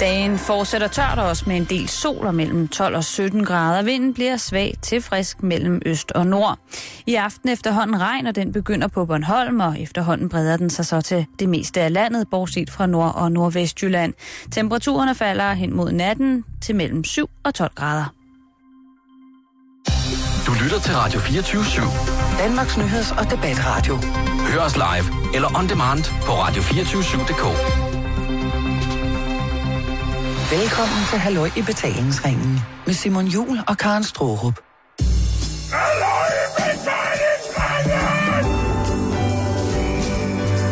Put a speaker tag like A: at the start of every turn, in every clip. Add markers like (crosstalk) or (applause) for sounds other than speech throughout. A: Dagen fortsætter tørt og også med en del sol og mellem 12 og 17 grader. Vinden bliver svag til frisk mellem øst og nord. I aften efterhånden regn, og den begynder på Bornholm, og efterhånden breder den sig så til det meste af landet, bortset fra Nord- og Nordvestjylland. Temperaturerne falder hen mod natten til mellem 7 og 12 grader.
B: Du lytter til Radio 24 /7.
C: Danmarks Nyheds- og Debatradio.
B: Hør os live eller on demand på radio247.dk.
C: Velkommen til Halløj i Betalingsringen med Simon Jul og Karen Strohrup.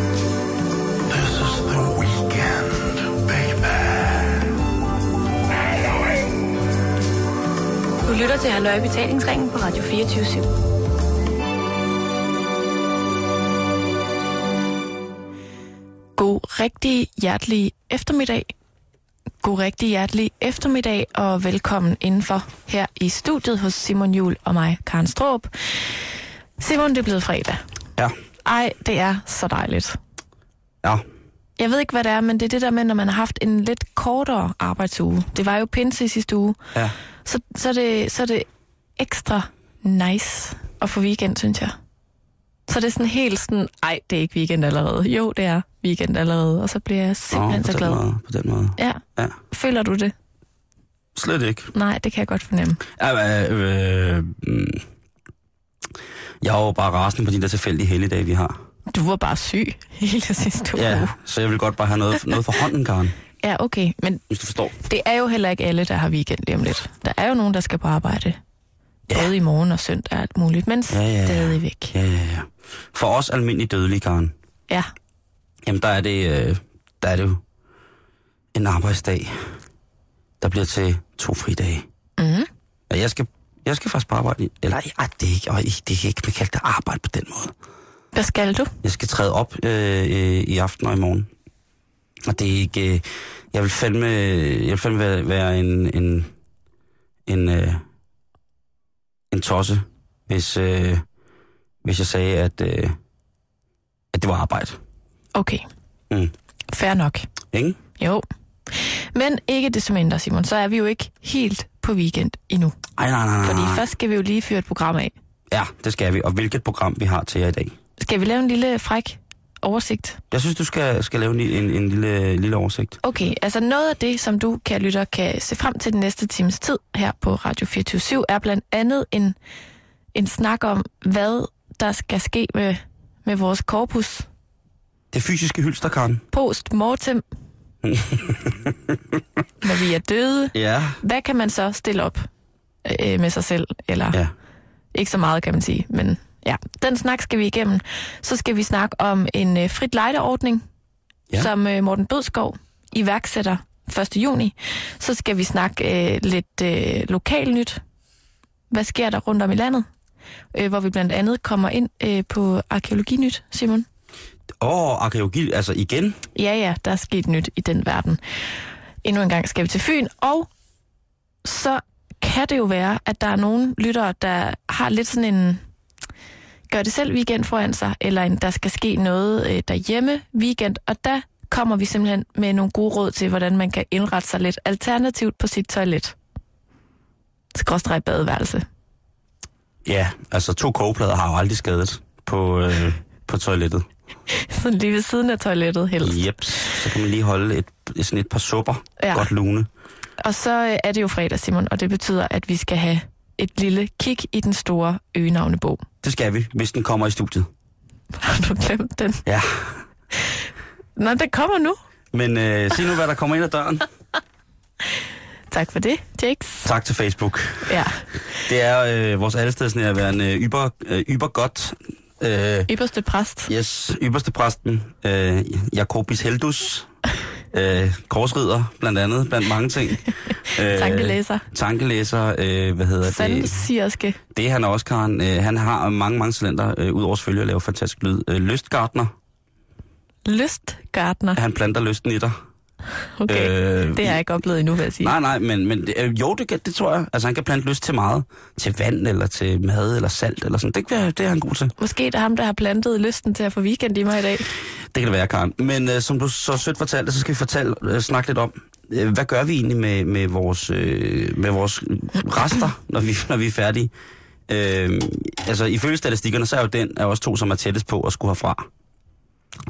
D: This is the weekend, baby.
E: Du lytter til Halløj i Betalingsringen på Radio 24 /7.
F: God rigtig hjertelig eftermiddag. God rigtig hjertelig eftermiddag og velkommen indenfor her i studiet hos Simon Jul og mig, Karen Stråb. Simon, det er blevet fredag.
G: Ja,
F: Ej, det er så dejligt.
G: ja.
F: Jeg ved ikke, hvad det er, men det er det der med, når man har haft en lidt kortere arbejdsuge. Det var jo pinse i sidste uge.
G: Ja.
F: Så, så, er det, så er det ekstra nice at få weekend, synes jeg. Så det er sådan helt sådan, ej, det er ikke weekend allerede. Jo, det er weekend allerede, og så bliver jeg simpelthen
G: Nå, på
F: så
G: den
F: glad.
G: Måde, på den måde.
F: Ja,
G: Ja,
F: føler du det?
G: slet ikke.
F: Nej, det kan jeg godt fornemme.
G: Ja, øh, øh, mm. jeg er jo bare rasende på de der tilfældige helligdage, vi har.
F: Du var bare syg hele sidste uge.
G: Ja, så jeg vil godt bare have noget, noget for hånden, Karen,
F: ja, okay. Men
G: hvis du forstår.
F: det er jo heller ikke alle, der har weekend lige om lidt. Der er jo nogen, der skal på arbejde. Både i morgen og søndag og alt muligt, men
G: Ja, ja, ja.
F: stadigvæk.
G: Ja, ja, ja. For os almindelige dødelige, Karen,
F: Ja,
G: jamen der er det, øh, der er det jo en arbejdsdag, der bliver til to fridage.
F: Mhm.
G: Og jeg skal, jeg skal faktisk på arbejde, i- eller ej, det er ikke, øj, det kan ikke blive kaldt det arbejde på den måde.
F: hvad skal du?
G: Jeg skal træde op øh, øh, i aften og i morgen. Og det er ikke... Øh, jeg vil fandme, jeg vil fandme være, være en... En, en, øh, en tosse, hvis, øh, hvis jeg sagde, at, øh, at det var arbejde.
F: Okay.
G: Mm.
F: Fair nok.
G: Ikke?
F: Jo. Men ikke desto mindre, Simon, så er vi jo ikke helt på weekend endnu.
G: Ej, nej, nej, nej,
F: Fordi
G: nej.
F: først skal vi jo lige fyre et program af.
G: Ja, det skal vi. Og hvilket program vi har til jer i dag.
F: Skal vi lave en lille fræk oversigt?
G: Jeg synes, du skal, skal lave en, en, en lille, lille oversigt.
F: Okay, altså noget af det, som du, kære lytter, kan se frem til den næste times tid her på Radio 24 er blandt andet en, en snak om, hvad der skal ske med, med vores korpus
G: Det fysiske hylster, Karen.
F: post mortem, når vi er døde.
G: Ja.
F: Hvad kan man så stille op øh, med sig selv? Eller
G: Ja.
F: ikke så meget, kan man sige, men ja. Den snak skal vi igennem. Så skal vi snakke om en øh, frit lejdeordning,
G: Ja.
F: ja. som øh, Morten Bødskov iværksætter 1. juni. Så skal vi snakke øh, lidt øh, lokalnyt. Hvad sker der rundt om i landet? Øh, hvor vi blandt andet kommer ind øh, på arkeologinyt, Simon.
G: Åh, arkeologi, altså igen.
F: Ja, ja, der er sket nyt i den verden. Endnu en gang skal vi til Fyn, og så kan det jo være, at der er nogle lyttere, der har lidt sådan en gør det selv weekend foran sig, eller en, der skal ske noget øh, derhjemme weekend, og der kommer vi simpelthen med nogle gode råd til, hvordan man kan indrette sig lidt alternativt på sit toilet. Skråstreg badeværelse. (laughs)
G: Ja, altså to kogeplader har jo aldrig skadet på, øh, på toilettet.
F: Sådan lige ved siden af toilettet helst.
G: Jeps, så kan man lige holde et, et- sådan et par supper, ja.
F: Ja.
G: godt lune.
F: Og så øh, er det jo fredag, Simon, og det betyder, at vi skal have et lille kig i den store øgenavnebog. (laughs)
G: Det skal vi, hvis den kommer i studiet.
F: Har du glemt den?
G: Ja,
F: Nå, den kommer nu.
G: men øh, se nu, hvad der kommer ind ad døren.
F: Tak for det, Jakes.
G: Tak til Facebook.
F: Ja,
G: Det er øh, vores allestedsnærværende yber, øh, ybergodt, øh,
F: ypperste præst.
G: yes, ypperste præsten, øh, Jakobis Heldus, øh, korsridder blandt andet, blandt mange ting. Øh,
F: Tankelæser.
G: Tankelæser, øh, hvad hedder det?
F: Sandsirske.
G: Det er han også, Karen. Øh, han har mange, mange talenter, øh, udover selvfølgelig at lave fantastisk lyd. Øh, lystgartner.
F: Lystgartner.
G: Han planter lysten i dig.
F: Okay,
G: øh,
F: det har jeg ikke oplevet endnu, vil jeg sige.
G: Nej, nej, men, men det- øh, jo, det, kan- det tror jeg. Altså, han kan plante lyst til meget. Til vand, eller til mad, eller salt, eller sådan. Det, kan være- det er han god til.
F: Måske det er ham, der har plantet lysten til at få weekend i mig i dag.
G: Det kan det være, Karen. Men øh, som du så sødt fortalte, så skal vi fortælle, øh, snakke lidt om,
H: øh, hvad gør vi egentlig med, med, vores, øh, med vores rester, når vi, når vi er færdige? Øh, altså, ifølge statistikkerne, så er jo den af os to, som er tættest på at skulle herfra.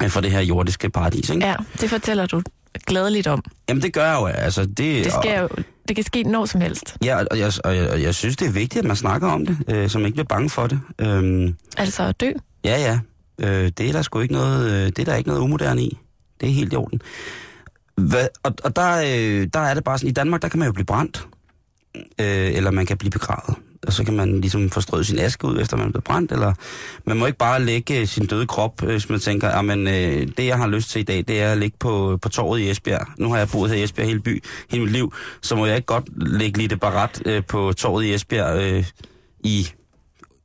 H: Øh, Fra det her jordiske paradis, ikke?
F: Ja, det fortæller du glædeligt om.
H: Jamen, det gør jeg jo, altså. Det,
F: Det, sker jo, det kan ske når som helst.
H: Ja, og- og jeg, og jeg, og jeg synes, det er vigtigt, at man snakker om det, øh, så man ikke bliver bange for det. Øhm,
F: Altså at dø.
H: ja, ja. Øh, det er der sgu ikke noget, øh, det er der ikke noget umoderne i. Det er helt i orden. Hva, og og der, øh, der er det bare sådan, i Danmark, der kan man jo blive brændt, øh, eller man kan blive begravet. Og så kan man ligesom forstrøde sin aske ud, efter man er blevet brændt, eller man må ikke bare lægge sin døde krop, øh, hvis man tænker, at øh, det, jeg har lyst til i dag, det er at ligge på, på torvet i Esbjerg. Nu har jeg boet her i Esbjerg hele, by, hele mit liv, så må jeg ikke godt lægge lidt barat øh, på torvet i Esbjerg øh, i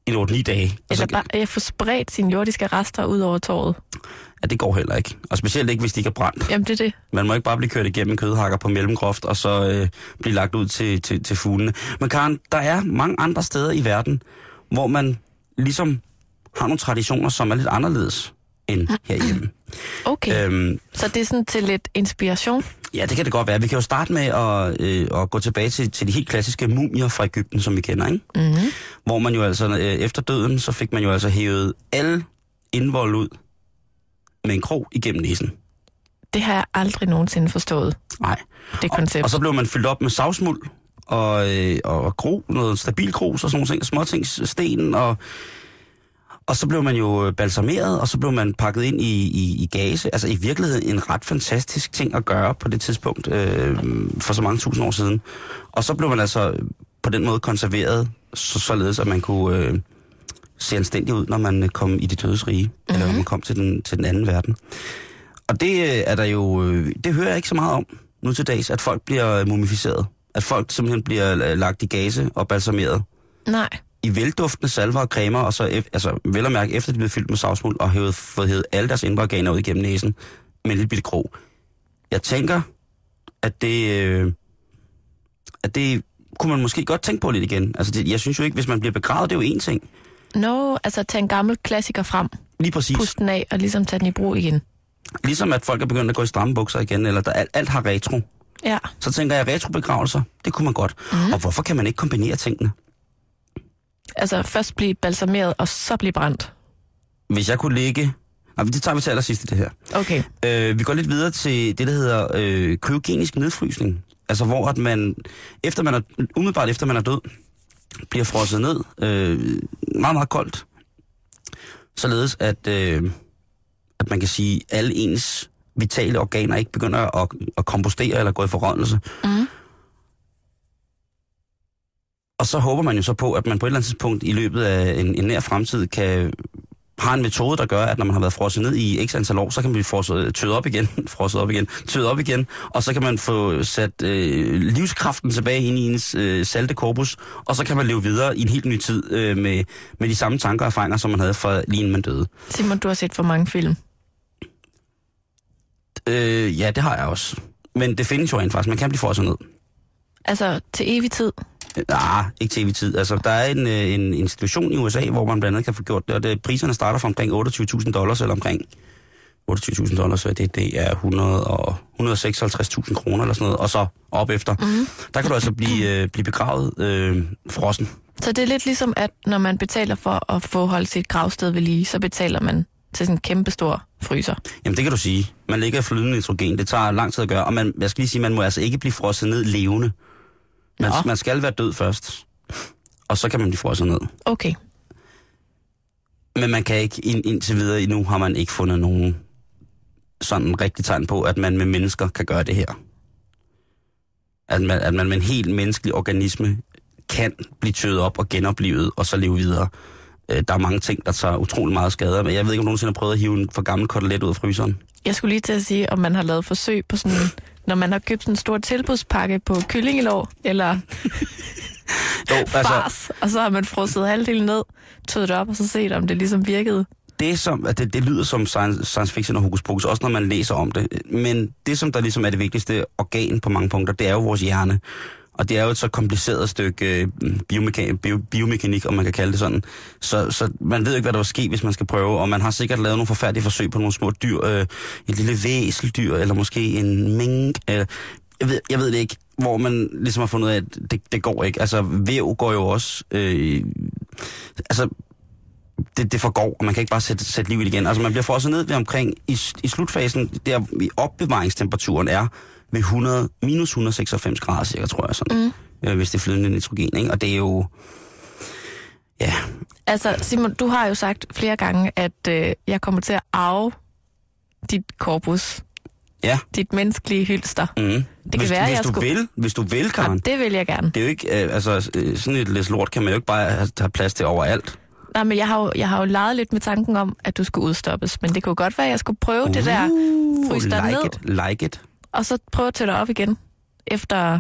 H: en 8-9 dage. Og så-
F: Eller bare at få spredt sine jordiske rester ud over tåret.
H: Ja, det går heller ikke. Og specielt ikke, hvis de ikke er brændt.
F: Jamen det er det.
H: Man må ikke bare blive kørt igennem en kødhakker på mellemgroft, og så øh, blive lagt ud til, til, til fuglene. Men Karen, der er mange andre steder i verden, hvor man ligesom har nogle traditioner, som er lidt anderledes end herhjemme.
F: Okay, øh.
H: Øhm,
F: så det er sådan til lidt inspiration.
H: ja, det kan det godt være. Vi kan jo starte med at, øh, at gå tilbage til, til de helt klassiske mumier fra Ægypten, som vi kender, ikke?
F: Mm-hmm.
H: Hvor man jo altså, øh, efter døden, så fik man jo altså hævet alle indvold ud med en krog igennem næsen.
F: Det har jeg aldrig nogensinde forstået,
H: Nej.
F: det koncept.
H: Og så blev man fyldt op med savsmuld og, øh, og gro, noget stabil grus og sådan nogle ting, småtingssten, og, og så blev man jo øh, balsameret, og så blev man pakket ind i, i, i gase. Altså i virkeligheden en ret fantastisk ting at gøre på det tidspunkt, øh, for så mange tusind år siden. Og så blev man altså øh, på den måde konserveret, så, således at man kunne øh, se anstændig ud, når man øh, kom i det dødes rige, mm-hmm. eller når man kom til den, til den anden verden. Og det øh, er der jo, øh, det hører jeg ikke så meget om nu til dags, at folk bliver øh, mumificeret. At folk simpelthen bliver øh, lagt i gase og balsameret
F: Nej,
H: i velduftende salver og cremer, og så ef- altså, vel at mærke, efter de blev fyldt med savsmuld og hævet, fået hævet alle deres indre organer ud igennem næsen med en lille bitte krog. Jeg tænker, at det, øh, at det kunne man måske godt tænke på lidt igen. Altså, det, jeg synes jo ikke, hvis man bliver begravet, det er jo én ting.
F: nå, no, altså tage en gammel klassiker frem,
H: Lige præcis.
F: puste den af og ligesom tage den i brug igen.
H: Ligesom at folk er begyndt at gå i stramme bukser igen, eller der, alt, alt har retro.
F: Ja,
H: så tænker jeg, retrobegravelser, det kunne man godt. Mm. Og hvorfor kan man ikke kombinere tingene?
F: altså først blive balsameret og så blive brændt.
H: Hvis jeg kunne ligge... Nej, det tager vi til allersidst i det her.
F: Okay,
H: Øh, vi går lidt videre til det, der hedder øh, kryogenisk nedfrysning. Altså hvor at man, efter man er, umiddelbart efter man er død, bliver frosset ned øh, meget, meget koldt. Således at, øh, at man kan sige, at alle ens vitale organer ikke begynder at, at kompostere eller gå i forrådnelse.
F: Mhm.
H: Og så håber man jo så på, at man på et eller andet tidspunkt i løbet af en, en nær fremtid kan har en metode, der gør, at når man har været frosset ned i x antal år, så kan man blive frosset, øh, tøet op igen, (laughs) frosset op igen, tøet op igen, og så kan man få sat øh, livskraften tilbage ind i ens øh, salte korpus, og så kan man leve videre i en helt ny tid øh, med, med de samme tanker og erfaringer, som man havde fra lige inden man døde.
F: Simon, du har set for mange film.
H: Øh, ja, det har jeg også. Men det findes jo rent faktisk. Man kan blive frosset ned.
F: Altså til evig tid.
H: Øh, Nej, ikke tv-tid. Altså, der er en, øh, en institution i USA, hvor man blandt andet kan få gjort det, og det, priserne starter fra omkring 28.000 dollars, eller omkring 28.000 dollars, så det, det er 100 og 156.000 kroner eller sådan noget, og så op efter. Mm. Der kan du altså blive, øh, blive begravet øh, frossen.
F: Så det er lidt ligesom, at når man betaler for at få holdt sit gravsted ved lige, så betaler man til sådan en kæmpe stor fryser.
H: Jamen, det kan du sige. Man ligger i flydende nitrogen. Det tager lang tid at gøre, og man, jeg skal lige sige, man må altså ikke blive frosset ned levende. Man,
F: Nå.
H: man skal være død først, og så kan man blive frosset ned.
F: Okay,
H: Men man kan ikke, ind, indtil videre endnu har man ikke fundet nogen sådan rigtig tegn på, at man med mennesker kan gøre det her. At man, at man med en helt menneskelig organisme kan blive tøet op og genoplevet, og så leve videre. Øh, Der er mange ting, der tager utrolig meget skade, men jeg ved ikke, om du nogensinde har prøvet at hive en for gammel kotelet ud af fryseren.
F: jeg skulle lige til at sige, om man har lavet forsøg på sådan, når man har købt sådan en stor tilbudspakke på kyllingelår, eller
H: Jo, altså-
F: fars, og så har man frosset halvdelen ned, tøet det op, og så set, om det ligesom virkede.
H: det, som, at det, det lyder som science, science fiction og hokus pokus, også når man læser om det. Men det, som der ligesom er det vigtigste organ på mange punkter, det er jo vores hjerne. Og det er jo et så kompliceret stykke øh, biomeka- bio, biomekanik, om man kan kalde det sådan. Så, så man ved jo ikke, hvad der vil ske, hvis man skal prøve. Og man har sikkert lavet nogle forfærdelige forsøg på nogle små dyr. Øh, et lille væseldyr, eller måske en mink. Øh, jeg ved, jeg ved det ikke, hvor man ligesom har fundet ud af, at det, det går ikke. Altså, væv går jo også... Øh, altså, det, det forgår, og man kan ikke bare sætte, sætte liv i det igen. Altså, man bliver frosset ned ved omkring... I, s- i slutfasen, der i opbevaringstemperaturen er ved 100, minus 196 grader cirka, tror jeg sådan. Mm. Øh, hvis det er flydende nitrogen, ikke? Og det er jo... mm. Ja,
F: Altså, Simon, du har jo sagt flere gange, at øh, jeg kommer til at arve dit korpus,
H: ja.
F: dit menneskelige hylster.
H: Mm. Det
F: kan
H: hvis,
F: være,
H: hvis
F: jeg
H: du
F: skulle-
H: vil, Hvis du vil, Karen.
F: Og det vil jeg gerne.
H: Det er jo ikke, øh, altså øh, sådan et lidt lort kan man jo ikke bare have, have plads til overalt.
F: Nej, men jeg har, jo, jeg har jo leget lidt med tanken om, at du skulle udstoppes, men det kunne godt være, at jeg skulle prøve uh, det der, fryse dig
H: like
F: ned,
H: It, like it.
F: og så prøve at tælle op igen, efter,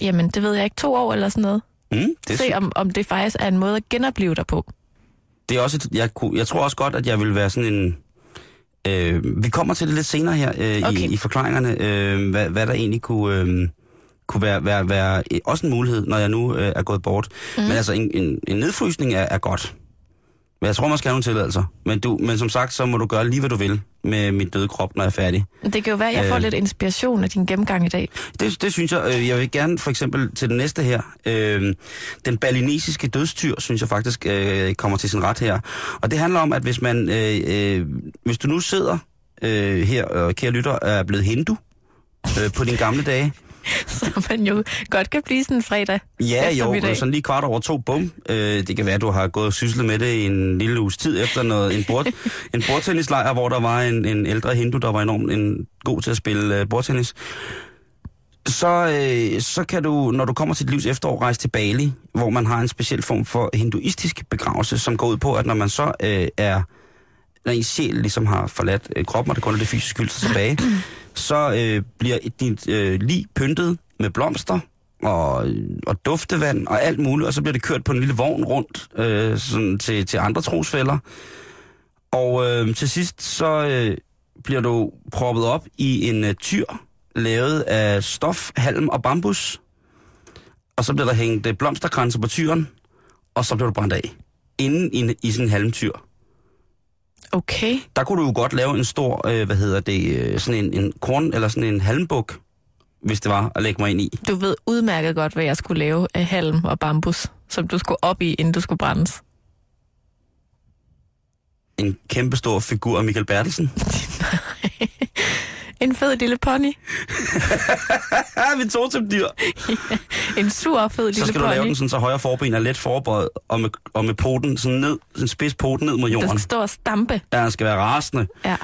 F: jamen, det ved jeg ikke, to år eller sådan noget.
H: Mm, det,
F: Se, om, om det faktisk er en måde at genopleve dig på.
H: det er også et, jeg, kunne, jeg tror også godt, at jeg vil være sådan en... Øh, vi kommer til det lidt senere her øh, okay.
F: Okay.
H: i, i forklaringerne, øh, hvad, hvad der egentlig kunne, øh, kunne være, være, være øh, også en mulighed, når jeg nu øh, er gået bort. Mm. Men altså, en, en, en nedfrysning er, er godt. Men jeg tror, man skal have nogle tilladelser. Men, du, men som sagt, så må du gøre lige, hvad du vil med min døde krop, når jeg er færdig.
F: Det kan jo være, at jeg får
H: Øh.
F: lidt inspiration af din gennemgang i dag. (laughs)
H: Det, det synes jeg. Øh, jeg vil gerne for eksempel til den næste her. Øh, den balinesiske dødstyr, synes jeg faktisk, øh, kommer til sin ret her. Og det handler om, at hvis man, øh, øh, hvis du nu sidder øh, her, og kære lytter, er blevet hindu øh, på dine gamle dage.
F: Så man jo godt kan blive sådan en fredag.
H: Ja, jo,
F: eftermiddag.
H: sådan lige kvart over to, bum. Øh, det kan være, at du har gået og syslet med det i en lille uges tid efter noget, en, bord, en bordtennislejr, hvor der var en, en ældre hindu, der var enormt en, god til at spille øh, bordtennis. Så, øh, så kan du, når du kommer til dit livs efterår, rejse til Bali, hvor man har en speciel form for hinduistisk begravelse, som går ud på, at når man så øh, er når ens sjæl ligesom har forladt øh, kroppen, og det kun er det fysiske hylster tilbage, (clears throat) så øh, bliver dit øh, lig pyntet med blomster og, øh, og duftevand og alt muligt, og så bliver det kørt på en lille vogn rundt øh, sådan til, til andre trosfælder. Og øh, til sidst så øh, bliver du proppet op i en øh, tyr, lavet af stof, halm og bambus. Og så bliver der hængt øh, blomsterkranser på tyren, og så bliver du brændt af. Inden i, en- i sådan en halmtyr
F: Okay.
H: der kunne du jo godt lave en stor, øh, hvad hedder det, øh, sådan en, en korn, eller sådan en halmbuk, hvis det var, at lægge mig ind i.
F: Du ved udmærket godt, hvad jeg skulle lave af halm og bambus, som du skulle op i, inden du skulle brændes.
H: En kæmpe stor figur af Michael Bertelsen.
F: (laughs) En fed lille pony.
H: Ja, vi tog til dyr.
F: En sur, fed lille
H: Så skal du
F: pony.
H: lave den sådan, så højre forben er let forberedt, og med, og med poten sådan ned, en spids poten ned mod
F: der
H: jorden.
F: skal stå og stampe.
H: Der skal være rasende.
F: Ja.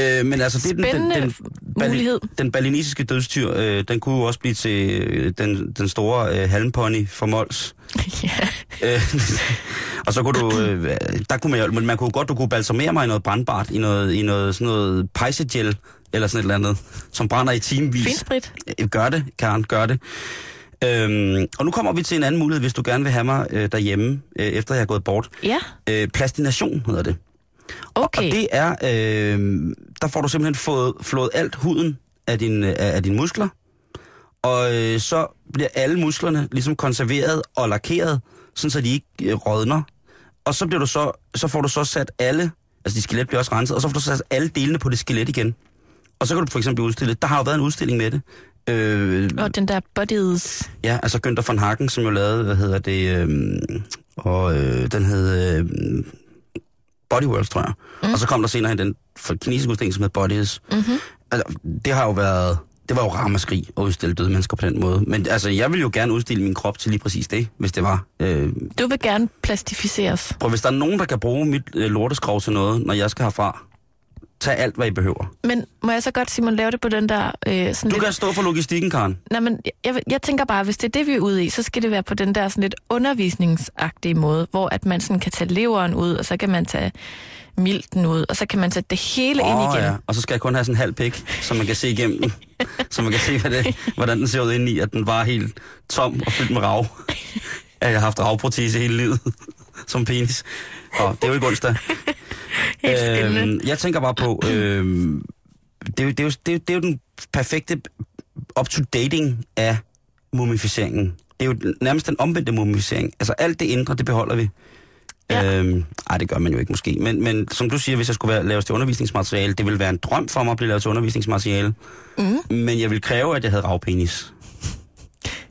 H: Øh, men altså, det er den,
F: Spændende
H: den, den, bali-
F: mulighed.
H: den balinesiske dødstyr, øh, den kunne jo også blive til øh, den, den store øh, halmpony fra Mols.
F: (laughs) ja.
H: Øh, og så kunne du, øh, der kunne man, jo- men man kunne godt, du kunne balsamere mig i noget brandbart, i noget, i noget sådan noget pejsegel, eller sådan et eller andet, som brænder i timevis.
F: Finsprit.
H: Øh, Gør det, Karen, gør det. Øhm, og nu kommer vi til en anden mulighed, hvis du gerne vil have mig øh, derhjemme, øh, efter jeg er gået bort.
F: Ja,
H: Øh, plastination hedder det. Og
F: okay.
H: det er, øh, der får du simpelthen fået, flået alt huden af, din, øh, af af dine muskler, og øh, så bliver alle musklerne ligesom konserveret og lakeret, sådan så de ikke øh, rådner. Og så, bliver du så, så får du så sat alle, altså dit skelet bliver også renset, og så får du så sat alle delene på det skelet igen. Og så kan du for eksempel udstille, der har jo været en udstilling med det. Øh,
F: Og den der bodies.
H: Ja, altså Günther von Hagen, som jo lavede, hvad hedder det, øhm, og øh, den hed øh, Body Worlds, tror jeg. Mm. Og så kom der senere hen den for kinesiske udstilling, som hed Bodies. Mm-hmm. Altså, det har jo været, det var jo ramaskrig at udstille døde mennesker på den måde. Men altså, jeg vil jo gerne udstille min krop til lige præcis det, hvis det var. Øh,
F: Du vil gerne plastificeres.
H: prøv, hvis der er nogen, der kan bruge mit øh, lorteskrog til noget, når jeg skal herfra, tag alt, hvad I behøver.
F: Men må jeg så godt, Simon, lave det på den der... Øh, sådan
H: Du
F: lidt...
H: kan stå for logistikken, Karen.
F: Nej, men jeg, jeg tænker bare, hvis det er det, vi er ude i, så skal det være på den der sådan lidt undervisningsagtige måde, hvor at man sådan kan tage leveren ud, og så kan man tage milten ud, og så kan man tage det hele oh, ind igen. Ja.
H: Og så skal jeg kun have sådan en halv pik, så man kan se igennem
F: (laughs)
H: den. så man kan se, hvad det, hvordan den ser ud indeni, at den var helt tom og fyldt med
F: (laughs)
H: rav. At jeg har haft ravprotese hele livet som penis. Og det er jo ikke onsdag.
F: (laughs) Helt skændende.
H: jeg tænker bare på, øhm, det, er jo, det, er jo, det, er jo, det er jo den perfekte up-to-dating af mumificeringen. Det er jo den- nærmest den omvendte mumificering. Altså alt det indre, det beholder vi.
F: Ja.
H: Ja. Øhm, ej, det gør man jo ikke måske. Men, men som du siger, hvis jeg skulle være, laves til undervisningsmateriale, det ville være en drøm for mig at blive lavet til undervisningsmateriale.
F: Mm.
H: Men jeg ville kræve, at jeg havde ravpenis.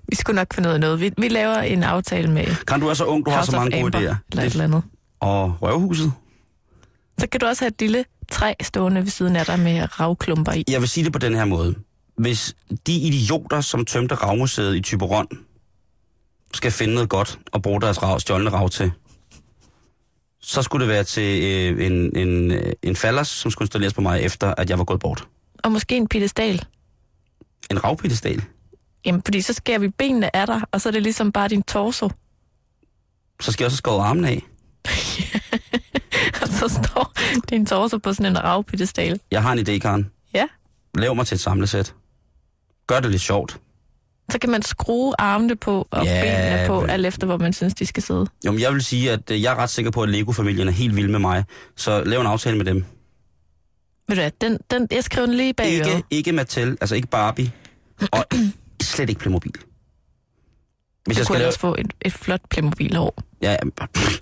F: Vi skulle nok finde ud af noget. Vi, vi laver en aftale med
H: Kan du er så ung, du har
F: House
H: så mange
F: of
H: gode
F: Amber,
H: idéer.
F: eller et eller andet.
H: Og røvhuset.
F: Så kan du også have et lille træ stående ved siden af dig med ravklumper i.
H: Jeg vil sige det på den her måde. Hvis de idioter, som tømte Ravmuseet i Tyberon, skal finde noget godt og bruge deres rav, stjålne rav til, så skulle det være til øh, en, en, øh, en fallers, som skulle installeres på mig, efter at jeg var gået bort.
F: Og måske en piedestal.
H: En ravpedestal.
F: Jamen, fordi så skærer vi benene af dig, og så er det ligesom bare din torso. (laughs)
H: Så skal jeg også have skåret armen af.
F: Og så står din torso på sådan en ravpiedestal.
H: Jeg har en idé, Karen.
F: Ja.
H: Lav mig til et samlesæt. Gør det lidt sjovt.
F: Så kan man skrue armene på og
H: Ja,
F: benene på,
H: men-
F: alt efter hvor man synes, de skal sidde.
H: Jo, men jeg vil sige, at øh, jeg er ret sikker på, at Lego-familien er helt vild med mig. Så lav en aftale med dem.
F: Ved du hvad, den, den, jeg skriver den lige bag
H: Ikke,
F: øret.
H: ikke Mattel, altså ikke Barbie. Og (clears throat) slet ikke Playmobil. Hvis
F: Du
H: jeg
F: kunne
H: skal lave...
F: ellers få et, et flot Playmobil-hår.
H: Ja, ja, pff.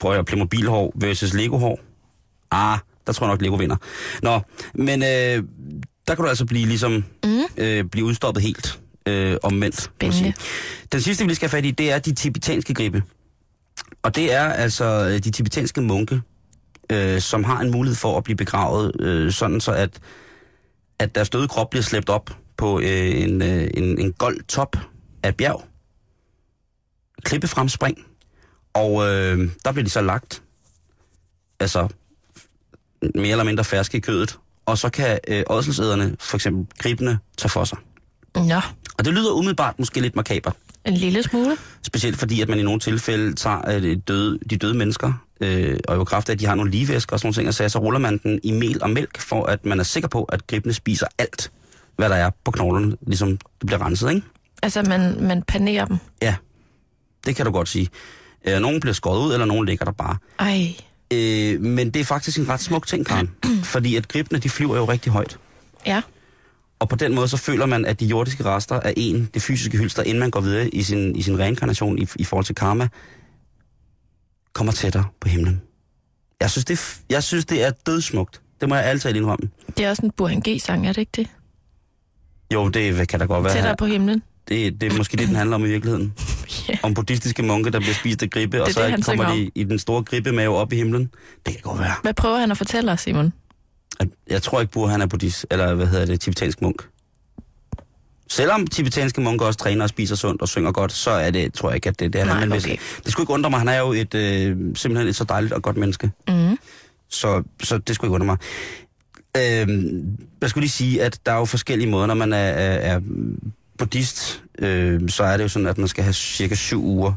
H: prøv at høre, Playmobil-hår versus Lego-hår. Ah, der tror jeg nok, Lego vinder. Nå, men øh, der kan du altså blive ligesom...
F: Mm.
H: Øh, blive udstoppet helt. Øh, omvendt, må jeg
F: Spændende.
H: sige. Den sidste, vi lige skal have fat i, det er de tibetanske gribe. Og det er altså øh, de tibetanske munke, øh, som har en mulighed for at blive begravet, øh, sådan så at, at deres døde krop bliver slæbt op på øh, en, øh, en, en gold top af et bjerg. Klippefremspring. Og øh, der bliver de så lagt, altså mere eller mindre ferske i kødet, og så kan øh, ådselsæderne, for eksempel gribene, tage for sig.
F: Nå,
H: Og det lyder umiddelbart måske lidt makabert.
F: en lille smule.
H: Specielt fordi, at man i nogle tilfælde tager øh, døde, de døde mennesker, øh, og jo i kraft af, at de har nogle ligevæsker og sådan nogle ting, og så, så ruller man den i mel og mælk, for at man er sikker på, at gribene spiser alt, hvad der er på knoglerne, ligesom det bliver renset, ikke?
F: Altså, man, man panerer dem.
H: Ja, det kan du godt sige. Øh, nogen bliver skåret ud, eller nogen ligger der bare.
F: Ej,
H: Øh, men det er faktisk en ret smuk
F: (clears throat)
H: ting, Karen, fordi at gribene, de flyver jo rigtig højt.
F: ja.
H: Og på den måde, så føler man, at de jordiske rester er en, det fysiske hylster, inden man går videre i sin, i sin reinkarnation i, i forhold til karma, kommer tættere på himlen. Jeg synes, det, er f- jeg synes, det er dødsmukt. Det må jeg altid indrømme.
F: Det er også en Burhan G-sang, er det ikke det?
H: Jo, det kan da godt være.
F: Tættere på himlen.
H: Det, det er måske det, den handler om i virkeligheden.
F: (laughs) Ja.
H: Om buddhistiske munke, der bliver spist af gribe, og
F: det,
H: så
F: han synger
H: kommer
F: om.
H: de i den store gribemave op i himlen. Det kan godt være.
F: Hvad prøver han at fortælle os, Simon?
H: at jeg tror ikke, Burhan er buddhist, eller hvad hedder det, tibetansk munk. Selvom tibetanske munker også træner og spiser sundt og synger godt, så er det, tror jeg ikke, at det er det, han
F: Nej,
H: er. Men hvis-
F: okay.
H: Det skulle ikke undre mig, han er jo et, øh, simpelthen et så dejligt og godt menneske.
F: Mm.
H: Så, så det skulle ikke undre mig. Øh, jeg skulle lige sige, at der er jo forskellige måder, når man er, er, er buddhist, øh, så er det jo sådan, at man skal have cirka syv uger,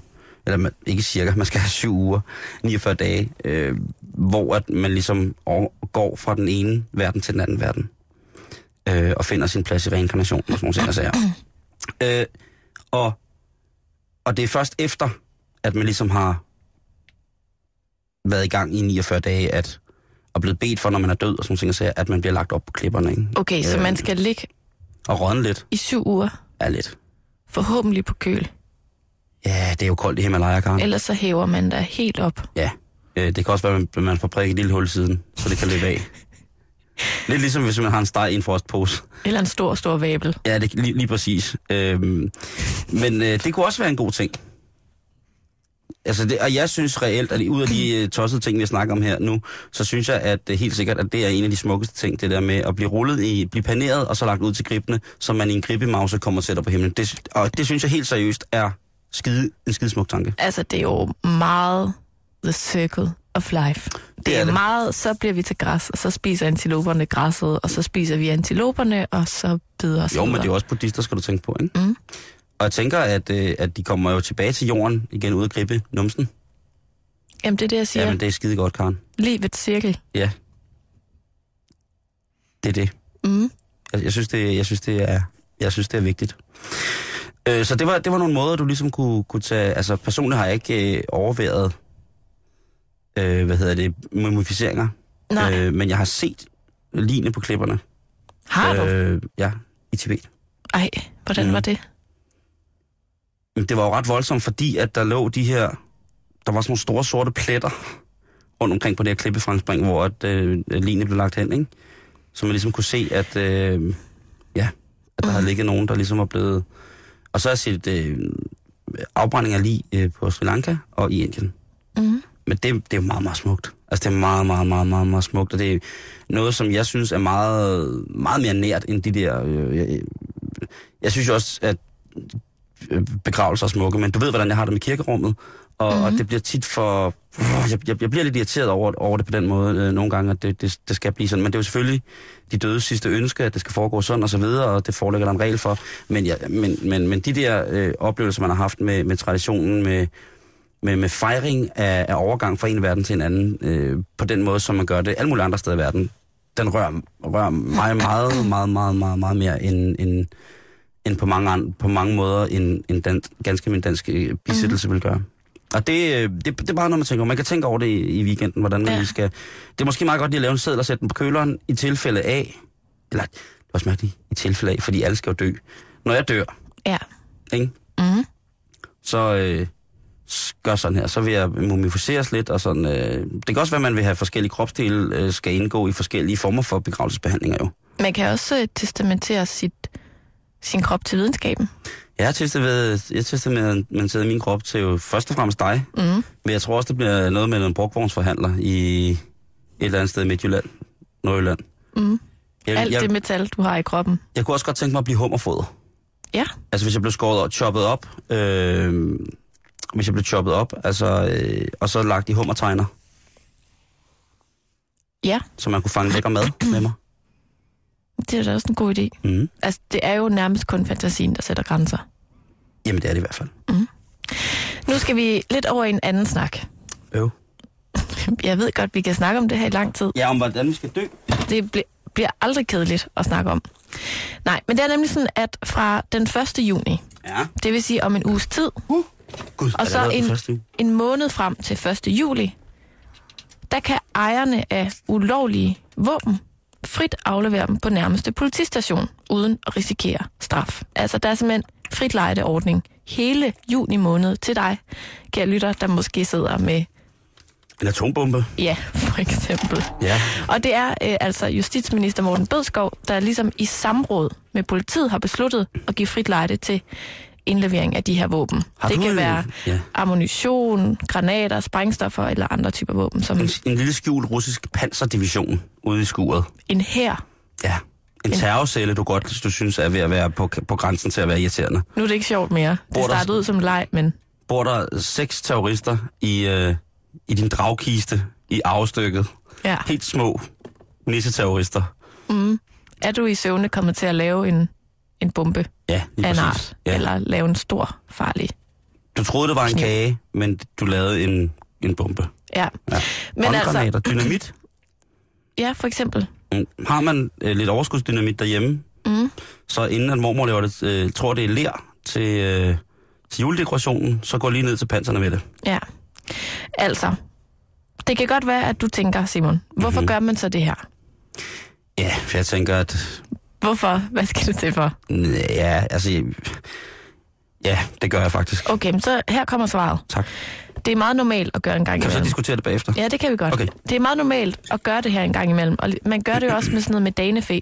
H: eller man, ikke cirka, man skal have syv uger, 49 dage, øh, hvor at man ligesom over, går fra den ene verden til den anden verden, øh, og finder sin plads i reinkarnation, og sådan nogle ting, altså, øh, og, og det er først efter, at man ligesom har været i gang i 49 dage, at og blevet bedt for, når man er død, og sådan nogle ting, og sager, at man bliver lagt op på klipperne, ikke?
F: Okay, så
H: Øh.
F: man skal ligge
H: Og rådne lidt.
F: i syv uger,
H: Ja, lidt.
F: forhåbentlig på køl.
H: Ja, det er jo koldt i Himalaya, Karen.
F: Ellers så hæver man dig helt op.
H: Ja. Øh, det kan også være, at man- man får prikket et lille hul i siden, så det kan løbe af. Lidt ligesom hvis man har en steg i en frostpose.
F: Eller en stor, stor vabel.
H: Ja, det, lige, lige præcis. Øhm, men øh, det kunne også være en god ting. Altså det, og jeg synes reelt, at ud af de øh, tossede ting, vi snakker om her nu, så synes jeg at øh, helt sikkert, at det er en af de smukkeste ting, det der med at blive rullet i, blive paneret og så lagt ud til gribene, så man i en gribemause kommer tættere på himlen. Det, og det synes jeg helt seriøst er skide, en skidesmuk tanke.
F: Altså, det er jo meget the circle of life. Det,
H: er
F: er
H: det.
F: meget, så bliver vi til græs, og så spiser antiloperne græsset, og så spiser vi antiloperne, og så bider os
H: Jo, men
F: videre.
H: det er jo også buddhister, skal du tænke på, ikke?
F: Mm.
H: Og jeg tænker, at, øh, at de kommer jo tilbage til jorden igen ud af gribe numsen.
F: Jamen, det er det, jeg siger.
H: Ja.
F: Jamen.
H: Jamen, det er skide godt, Karen.
F: Livets cirkel.
H: Ja. Det er det.
F: Mm.
H: Jeg, jeg, synes, det, jeg, synes, det er, jeg synes, det er vigtigt. Øh, så det var, det var nogle måder, du ligesom kunne, kunne tage... Altså, personligt har jeg ikke øh, overværet, øh, hvad hedder det, mumificeringer.
F: Nej, øh,
H: Øh, men jeg har set lignende på klipperne.
F: har du?
H: Øh, ja, i Tibet.
F: Ej, hvordan
H: Mm.
F: var det?
H: Men det var jo ret voldsomt, fordi at der lå de her... der var sådan nogle store sorte pletter rundt omkring på det her klippefremspring, hvor at, øh, linje blev lagt hen, ikke? Så man ligesom kunne se, at, øh, ja, at der havde ligget nogen, der ligesom var blevet... Og så har jeg set øh, afbrænding af lig øh, på Sri Lanka og i Indien.
F: Mm.
H: Men det, det er jo meget, meget smukt. Altså, det er meget, meget, meget, meget, meget smukt. Og det er noget, som jeg synes er meget, meget mere nært end de der... Øh, jeg, jeg synes jo også, at øh, begravelser er smukke, men du ved, hvordan jeg har det med kirkerummet. Og, mm-hmm. og det bliver tit for... Jeg, jeg, jeg bliver lidt irriteret over, over det på den måde øh, nogle gange, at det, det, det skal blive sådan. Men det er jo selvfølgelig de dødes sidste ønske, at det skal foregå sådan og så videre, og det foreligger der en regel for. Men, ja, men, men, men de der øh, oplevelser, man har haft med, med traditionen, med, med, med fejring af, af overgang fra en verden til en anden, øh, på den måde, som man gør det alle mulige andre steder i verden, den rører, rører mig meget, meget, meget, meget, meget mere end, end, end på, mange andre, på mange måder, end, end dan, ganske min danske øh, bisættelse mm. vil gøre. Og det, øh, det, det er bare noget, man tænker over. Man kan tænke over det i, i weekenden, hvordan man
F: Ja.
H: ja. skal... Det er måske meget godt lige at lave en seddel og sætte den på køleren i tilfælde af... Eller, det er også mærkeligt, i tilfælde af, fordi alle skal jo dø. Når jeg dør,
F: Ja.
H: ikke?
F: Mm.
H: så øh, s- gør sådan her, så vil jeg mumificeres lidt, og sådan, øh, det kan også være, at man vil have forskellige kropsdele, øh, skal indgå i forskellige former for begravelsesbehandlinger jo.
F: Man kan også øh, testamentere sit, sin krop til videnskaben.
H: Jeg har testet ved, jeg har testet med, man sidder min krop til jo først og fremmest dig,
F: Mm.
H: men jeg tror også, det bliver noget med en brugvognsforhandler i et eller andet sted i Midtjylland, Nordjylland.
F: Mm.
H: Jeg,
F: Alt det
H: Øh, jeg,
F: metal, du har i kroppen.
H: jeg kunne også godt tænke mig at blive hummerfoder.
F: Ja.
H: Altså hvis jeg blev skåret og choppet op, øh, hvis jeg blev choppet op, altså, øh, og så lagt i hummertegner,
F: Ja,
H: så man kunne fange lækker
F: (clears throat)
H: mad med mig.
F: det er da også en god idé.
H: Mm.
F: Altså, det er jo nærmest kun fantasien, der sætter grænser.
H: Jamen, det er det i hvert fald.
F: Nu skal vi lidt over i en anden snak.
H: Øv.
F: Jeg ved godt, vi kan snakke om det her i lang tid.
H: Ja, om hvordan vi skal dø.
F: Det bl- bliver aldrig kedeligt at snakke om. Nej, men det er nemlig sådan, at fra den 1. juni,
H: Ja.
F: det vil sige om en uges tid,
H: Gud,
F: og så en,
H: Første?
F: en måned frem til 1. juli, der kan ejerne af ulovlige våben frit aflevere dem på nærmeste politistation, uden at risikere straf. Altså, der er simpelthen frit lejdeordning hele juni måned til dig, kære lytter, der måske sidder med,
H: En atombombe.
F: ja, for eksempel.
H: Ja.
F: Og det er øh, altså justitsminister Morten Bødskov, der ligesom i samråd med politiet har besluttet at give frit lejde til indlevering af de her våben.
H: Har
F: det
H: du
F: kan
H: en-
F: være
H: ja.
F: ammunition, granater, sprængstoffer eller andre typer våben, som
H: En, en lille skjult russisk panserdivision ude i skuret.
F: en her.
H: Ja. En terrorcelle, du godt hvis du synes er ved at være på, på grænsen til at være irriterende.
F: Nu er det ikke sjovt mere.
H: Hvor
F: Det
H: er der
F: startede ud som leg, men
H: Bor der seks terrorister i, øh, i din dragkiste i afstykket?
F: ja.
H: Helt små nisseterrorister.
F: Er du i søvne kommet til at lave en, en bombe
H: Ja, lige
F: af en
H: præcis.
F: art,
H: Ja.
F: eller lave en stor farlig
H: Du troede, det var en
F: Kniv.
H: kage, men du lavede en, en bombe.
F: Ja.
H: Ja.
F: Men altså,
H: Håndgranater, dynamit.
F: ja, for eksempel.
H: Mm. Har man øh, lidt overskudsdynamit derhjemme,
F: Mm.
H: så inden at mormor laver det, øh, tror det er lær til, øh, til juledekorationen, så går lige ned til panserne med det.
F: Ja. Altså, det kan godt være, at du tænker, Simon,
H: Mhm.
F: hvorfor mm-hmm. gør man så det her?
H: Ja, for jeg tænker, at...
F: Hvorfor? Hvad skal det til for?
H: Ja, altså... jeg- Ja, det gør jeg faktisk.
F: Okay, men så her kommer svaret.
H: Tak.
F: Det er meget normalt at gøre en gang
H: Kan vi så
F: imellem.
H: diskutere det bagefter?
F: Ja, det kan vi godt.
H: Okay.
F: Det er meget normalt at gøre det her en gang imellem. Og man gør det jo også med sådan noget med danefæ.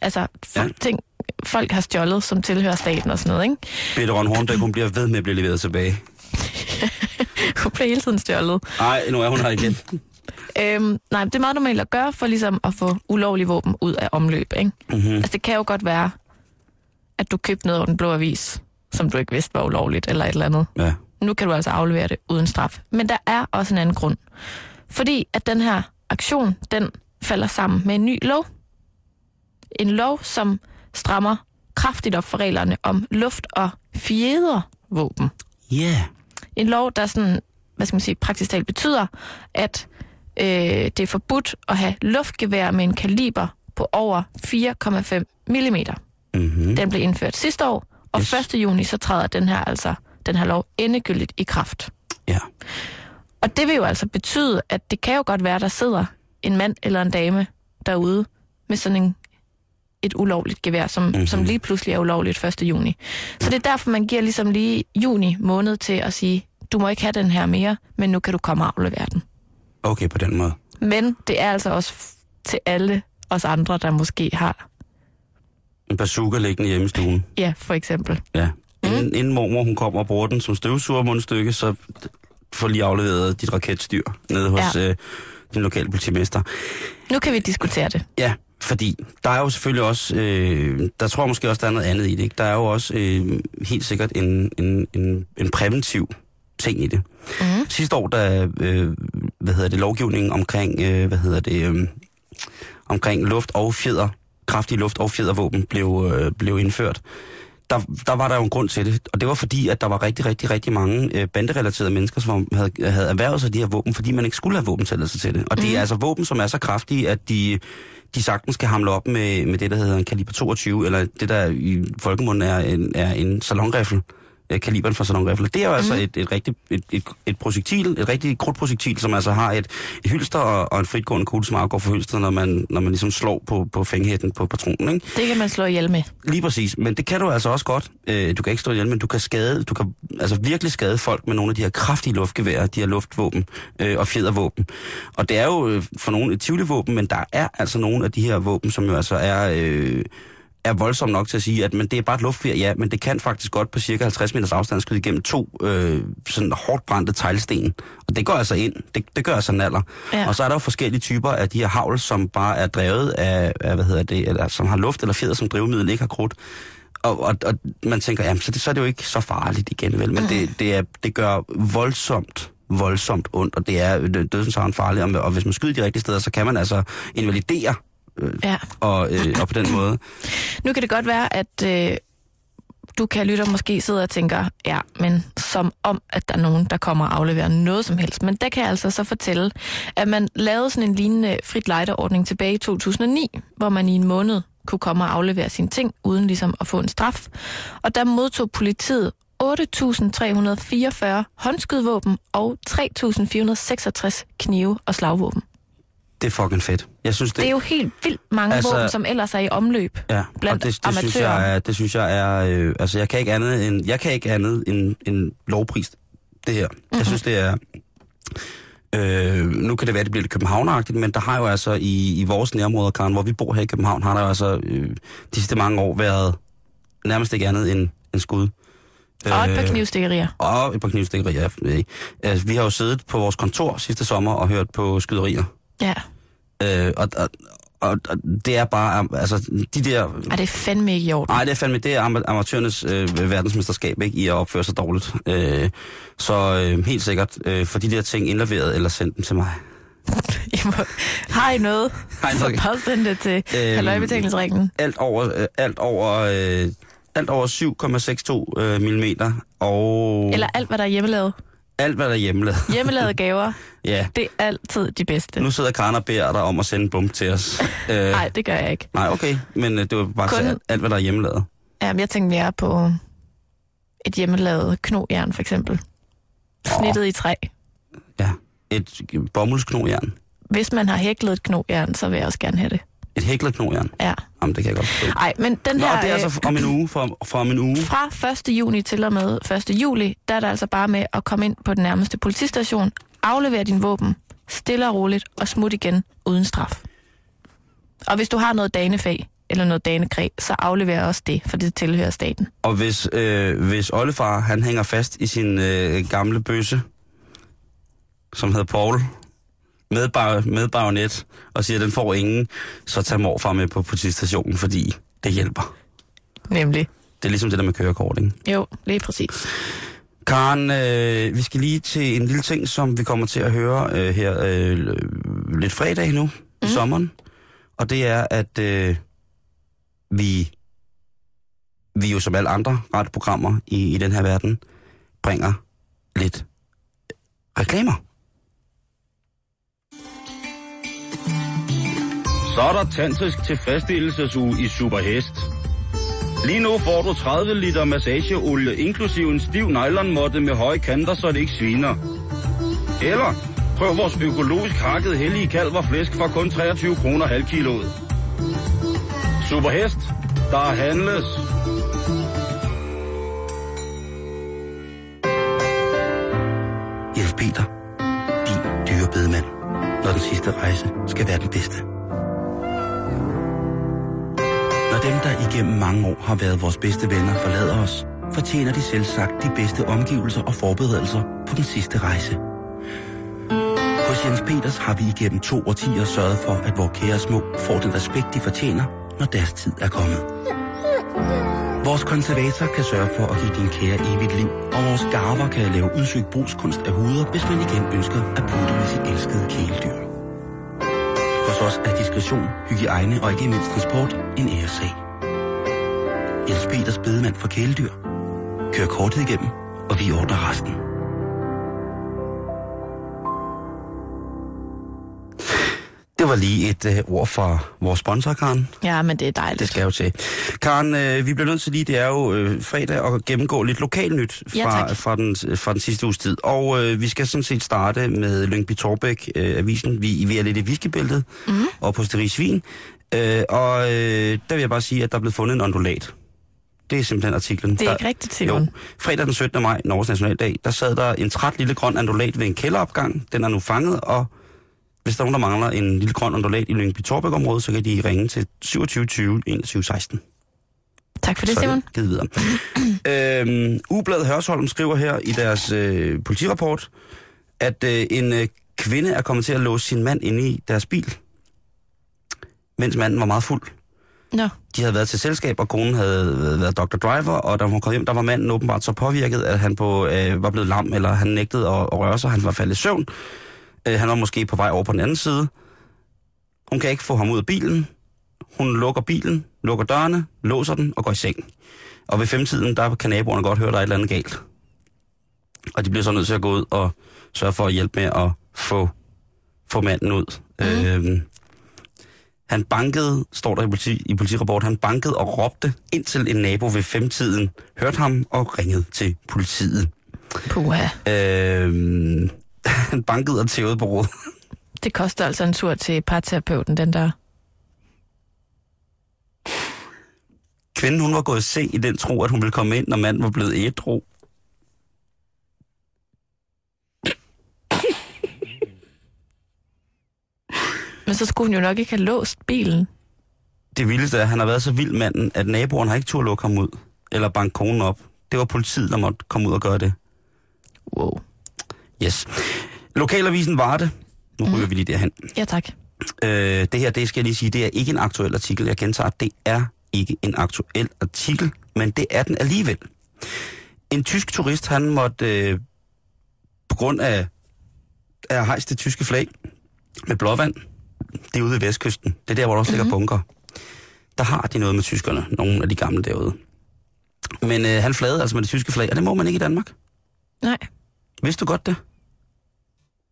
F: Altså, folk, ja. ting, folk har stjålet, som tilhører staten og sådan noget, ikke? (laughs)
H: Peter Ron Hornbæk, hun bliver ved med at blive leveret tilbage.
F: Hun bliver hele tiden stjålet.
H: Nej, nu er hun her igen.
F: Øhm, nej, det er meget normalt at gøre for ligesom at få ulovlige våben ud af omløb, ikke?
H: Mm-hmm.
F: Altså, det kan jo godt være, at du købte noget over den blå avis, som du ikke vidste var ulovligt, eller et eller andet.
H: Ja.
F: Nu kan du altså aflevere det uden straf. Men der er også en anden grund. Fordi at den her aktion, den falder sammen med en ny lov. En lov, som strammer kraftigt op for reglerne om luft- og fjedervåben.
H: Yeah.
F: En lov, der sådan, hvad skal man sige, praktisk talt betyder, at øh, det er forbudt at have luftgevær med en kaliber på over 4,5 mm.
H: Mm-hmm.
F: Den blev indført sidste år, og yes. 1.
H: Yes.
F: juni så træder den her altså den her lov endegyldigt i kraft.
H: Ja.
F: Og det vil jo altså betyde, at det kan jo godt være, der sidder en mand eller en dame derude med sådan en, et ulovligt gevær, som, mm-hmm. som lige pludselig er ulovligt 1. juni. Så det er derfor, man giver ligesom lige juni måned til at sige, du må ikke have den her mere, men nu kan du komme og aflevere den.
H: Okay, på den måde.
F: Men det er altså også f- til alle os andre, der måske har,
H: En bazooka liggende hjemme i stuen.
F: ja, for eksempel.
H: Ja. Inden, inden mormor hun kommer og bruger den som støvsugermundstykke, så får lige afleveret dit raketstyr nede hos ja. øh, den lokale politimester.
F: Nu kan vi diskutere det.
H: Ja, fordi der er jo selvfølgelig også, øh, der tror jeg måske også, der er noget andet i det. Ikke? Der er jo også øh, helt sikkert en, en, en, en præventiv ting i det.
F: Mhm.
H: Mm. Sidste år, der øh, hvad hedder det, lovgivningen omkring, øh, hvad hedder det, øh, omkring luft og fjeder, kraftige luft- og fjedervåben blev, øh, blev indført. Der, der var der jo en grund til det, og det var fordi, at der var rigtig, rigtig, rigtig mange øh, banderelaterede mennesker, som havde, havde erhvervet sig de her våben, fordi man ikke skulle have våbentilladelse til det. Og det er altså våben, som er så kraftige, at de, de sagtens kan hamle op med, med det, der hedder en kaliber 22, eller det, der i folkemunden er en, er en salonrifle øh, kaliberen fra salonrifler. Det er jo altså et, et, rigtig, et, et, et projektil, et rigtig krudtprojektil, som altså har et, et hylster og, og en fritgående kugle, som afgår for hylsteret, når man, når man ligesom slår på, på fænghætten på patronen. Ikke?
F: Det kan man slå ihjel med.
H: Lige præcis, men det kan du altså også godt. Øh, du kan ikke stå ihjel, men du kan skade, du kan altså virkelig skade folk med nogle af de her kraftige luftgeværer, de her luftvåben øh, og fjedervåben. Og det er jo øh, for nogle et tivoli våben, men der er altså nogle af de her våben, som jo altså er... Øh, er voldsom nok til at sige, at men det er bare et luftfjer, ja, men det kan faktisk godt på cirka 50 meters afstand skyde igennem to øh, sådan hårdt brændte teglsten. Og det går altså ind, det, det gør altså naller.
F: Ja.
H: Ja. Og så er der jo forskellige typer af de her havl, som bare er drevet af, af hvad hedder det, eller som har luft eller fjeder som drivmiddel, ikke har krudt. Og, og, og man tænker, jamen, så, det, så er det jo ikke så farligt igen, vel? Men det, det, er, det gør voldsomt, voldsomt ondt, og det er dødsensarven farligt. Og, og hvis man skyder de rigtige steder, så kan man altså invalidere, øh,
F: Ja.
H: og, øh, og på den måde...
F: Nu kan det godt være, at øh, du kan lytte og måske sidde og tænker, ja, men som om, at der er nogen, der kommer og afleverer noget som helst. Men der kan jeg altså så fortælle, at man lavede sådan en lignende frit lejderordning tilbage i 2009, hvor man i en måned kunne komme og aflevere sine ting, uden ligesom at få en straf. Og der modtog politiet 8.344 håndskydvåben og 3.466 knive og slagvåben. Det,
H: Det er fucking fedt. Jeg synes, det,
F: det er jo helt vildt mange altså,
H: Altså-
F: våben, som ellers er i omløb.
H: ja,
F: blandt
H: og det, det synes
F: amatører.
H: jeg er, det synes jeg er øh, altså jeg kan ikke andet end jeg kan ikke andet end, end lovpris det her. Mm-hmm.
F: Mhm.
H: Jeg synes det er Øh, nu kan det være, det bliver lidt københavneragtigt, men der har jo altså i, i vores nærområder, Karen, hvor vi bor her i København, har der jo altså øh, de sidste mange år været nærmest ikke andet end, end skud.
F: Og et par
H: Øh,
F: knivstikkerier.
H: Og et par knivstikkerier. Øh, altså, vi har jo siddet på vores kontor sidste sommer og hørt på skyderier.
F: Ja.
H: Øh, og, og, og, og det er bare, altså de der
F: Ej, det er fandme ikke i orden. (laughs)
H: Nej, det er fandme, det er ama- amatørernes øh, verdensmesterskab, ikke, i at opføre sig dårligt. Øh, så øh, helt sikkert, øh, for de der ting indleveret eller sendt dem til mig.
F: I må, har I noget,
H: Har I
F: så
H: noget?
F: bare send det til
H: Øhm,
F: halvøjbetalingsringen.
H: Alt over, øh, alt over, øh, alt over 7,62 øh, millimeter, og
F: Eller alt, hvad der er hjemmelavet.
H: alt, hvad der er hjemmelavet.
F: Hjemmelavede gaver,
H: Ja,
F: det er altid de bedste.
H: nu sidder Karen og beder dig om at sende en bum til os. Øh,
F: Nej, det gør jeg ikke.
H: Nej, okay, men øh, det var bare
F: Kun-
H: Kun... alt, alt, hvad der er hjemmelavet.
F: Jamen, jeg tænkte mere på et hjemmelavet knojern, for eksempel. Snittet i træ.
H: Ja, et bomuldsknojern.
F: Hvis man har hæklet et knojern, så vil jeg også gerne have det.
H: Et hæklerknojern.
F: Ja.
H: Jamen, det kan jeg godt forstå.
F: Ej, men den
H: Nå,
F: her...
H: det er
F: øh,
H: altså om en uge, fra, fra om en uge.
F: fra 1. juni til og med 1. juli, der er det altså bare med at komme ind på den nærmeste politistation, aflevere din våben, stille og roligt og smut igen uden straf. Og hvis du har noget danefag eller noget danekræ, så aflever også det, for det tilhører staten.
H: Og hvis, øh, hvis oldefar, han hænger fast i sin øh, gamle bøsse, som hedder Paul, med, bar, med baronet, og siger, at den får ingen, så tag morfar med på politistationen, fordi det hjælper.
F: Nemlig.
H: Det er ligesom det der med kørekort, ikke?
F: Jo, lige præcis.
H: Karen, øh, vi skal lige til en lille ting, som vi kommer til at høre øh, her øh, lidt fredag nu, mm. i sommeren. Og det er, at øh, vi, vi jo som alle andre radioprogrammer i, i den her verden, bringer lidt reklamer.
I: Så er der tantrisk tilfredsstillelsesuge i Superhest. Lige nu får du 30 liter massageolie, inklusive en stiv nylonmåtte med høje kanter, så det ikke sviner. Eller prøv vores økologisk hakket hellige kalv og flæsk for kun 23 kroner halv kiloet. Superhest, der handles.
D: Peter, din dyrebedemand, når den sidste rejse skal være den bedste. Når dem, der igennem mange år har været vores bedste venner, forlader os, fortjener de selv sagt de bedste omgivelser og forberedelser på den sidste rejse. Hos Jens Peters har vi igennem to årtier sørget for, at vores kære små får den respekt, de fortjener, når deres tid er kommet. Vores konservator kan sørge for at give din kære evigt liv, og vores garver kan lave udsøgt brugskunst af huder, hvis man igen ønsker at putte med sit elskede kæledyr. Hos os er diskretion, hygiejne og ikke mindst transport en æressag. Jens Peters bedemand for kæledyr. Kør kortet igennem, og vi ordner resten.
H: Det var lige et øh, ord fra vores sponsor, Karen.
F: Ja, men det er dejligt.
H: Det skal jo til. Karen, øh, vi bliver nødt til lige, det er jo øh, fredag, at gennemgå lidt lokalnyt
F: Ja,
H: fra,
F: tak.
H: fra, den, fra den sidste uges tid. Og øh, vi skal sådan set starte med Lyngby Torbæk, øh, avisen. Vi, vi er lidt i viskebæltet
F: Mhm.
H: mm. og på Steri Svin. Øh, og øh, der vil jeg bare sige, at der er blevet fundet en ondulat. Det er simpelthen artiklen.
F: Det er
H: der,
F: ikke rigtigt,
H: Jo,
F: Simon.
H: fredag den 17. maj, Norges Nationaldag, der sad der en træt lille grøn ondulat ved en kælderopgang. Den er nu fanget, og hvis der er nogen, der mangler en lille grøn ondulat i Lyngby Torbæk-området, så kan de ringe til 27 20 21 16.
F: Tak for det,
H: Så er
F: Simon.
H: det givet videre.
F: (clears throat)
H: øhm, Ugebladet Hørsholm skriver her i deres øh, politirapport, at øh, en øh, kvinde er kommet til at låse sin mand inde i deres bil, mens manden var meget fuld.
F: Nå,
H: De havde været til selskab, og konen havde været Dr. Driver, og da hun kom hjem, der var manden åbenbart så påvirket, at han på, øh, var blevet lam, eller han nægtede at, at røre sig, han var faldet i søvn. Øh, han var måske på vej over på den anden side. Hun kan ikke få ham ud af bilen. Hun lukker bilen, lukker dørene, låser den og går i seng. Og ved femtiden, der kan naboerne godt høre, at der er et eller andet galt. Og de bliver så nødt til at gå ud og sørge for at hjælpe med at få, få manden ud. Mm. Øh, han bankede, står der i, politi, i politirapporten, han bankede og råbte, indtil en nabo ved femtiden hørte ham og ringede til politiet.
F: puha.
H: Øhm, (laughs) han bankede og tævede på råd.
F: Det koster altså en tur til parterapeuten, den der.
H: Kvinden, hun var gået i seng i den tro, at hun ville komme ind, når manden var blevet ædru.
F: Men så skulle hun jo nok ikke have låst bilen.
H: Det vildeste er, at han har været så vild manden, at naboerne har ikke turde lukke ham ud. Eller banke konen op. Det var politiet, der måtte komme ud og gøre det.
F: Wow.
H: Yes. Lokalavisen Varde. Nu ryger vi lige derhen.
F: Ja, tak.
H: Øh, det her, det skal jeg lige sige, det er ikke en aktuel artikel. Jeg gentager, det er ikke en aktuel artikel, men det er den alligevel. En tysk turist, han måtte øh, på grund af at have hejst det tyske flag med blåvand, det er ude ved vestkysten. Det er der, hvor der også ligger bunker. Der har de noget med tyskerne, nogle af de gamle derude. Men øh, han flagede altså med det tyske flag, og det må man ikke i Danmark.
F: Nej.
H: Vidste du godt det?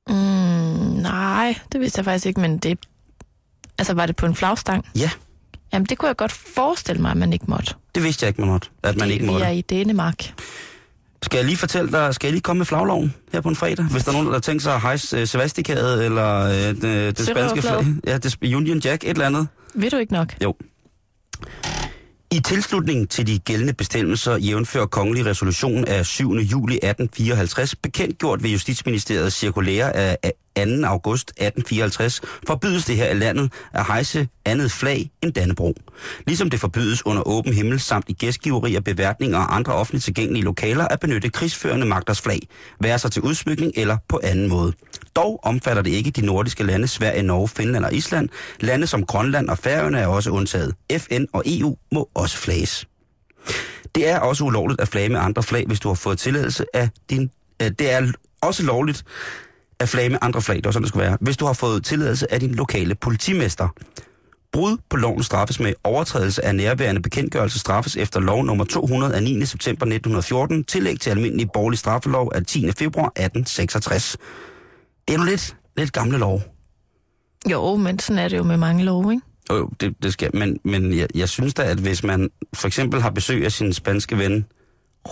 F: Mm, nej, det vidste jeg faktisk ikke, men det... Altså, var det på en flagstang?
H: Ja,
F: Jamen, det kunne jeg godt forestille mig, at man ikke måtte.
H: det vidste jeg ikke, man måtte. At man
F: Fordi
H: ikke måtte.
F: Vi er i Danemark.
H: Skal jeg lige fortælle dig, skal jeg lige komme med flagloven her på en fredag? Hvis der er nogen, der har tænkt sig at hejse øh, svastikaet eller øh, det, det spanske flag.
F: Sørøverflaget.
H: Ja, det, Union Jack, et eller andet.
F: Ved du ikke nok?
H: Jo. I tilslutning til de gældende bestemmelser jævnfører kongelig resolution af 7. juli 1854, bekendtgjort ved Justitsministeriets cirkulære af 2. august 1854, forbydes det her i landet at hejse andet flag end Dannebro. Ligesom det forbydes under åben himmel samt i gæstgiverier, beværtninger og andre offentligt tilgængelige lokaler at benytte krigsførende magters flag, være sig til udsmykning eller på anden måde. Dog omfatter det ikke de nordiske lande Sverige, Norge, Finland og Island. Lande som Grønland og Færøerne er også undtaget. FN og EU må også flages. Det er også ulovligt at flage med andre flag, hvis du har fået tilladelse af din... Øh, det er også lovligt at flage med andre flag, det var sådan, det skulle være, hvis du har fået tilladelse af din lokale politimester. Brud på loven straffes med overtrædelse af nærværende bekendtgørelse straffes efter lov nummer 200 af 9. september 1914, tillæg til almindelig borgerlig straffelov af 10. februar 1866. Det er nu lidt, lidt gamle lov.
F: Jo, men sådan er det jo med mange love, ikke?
H: Jo, jo, det, det skal, men, men jeg, jeg synes da, at hvis man for eksempel har besøg af sin spanske ven,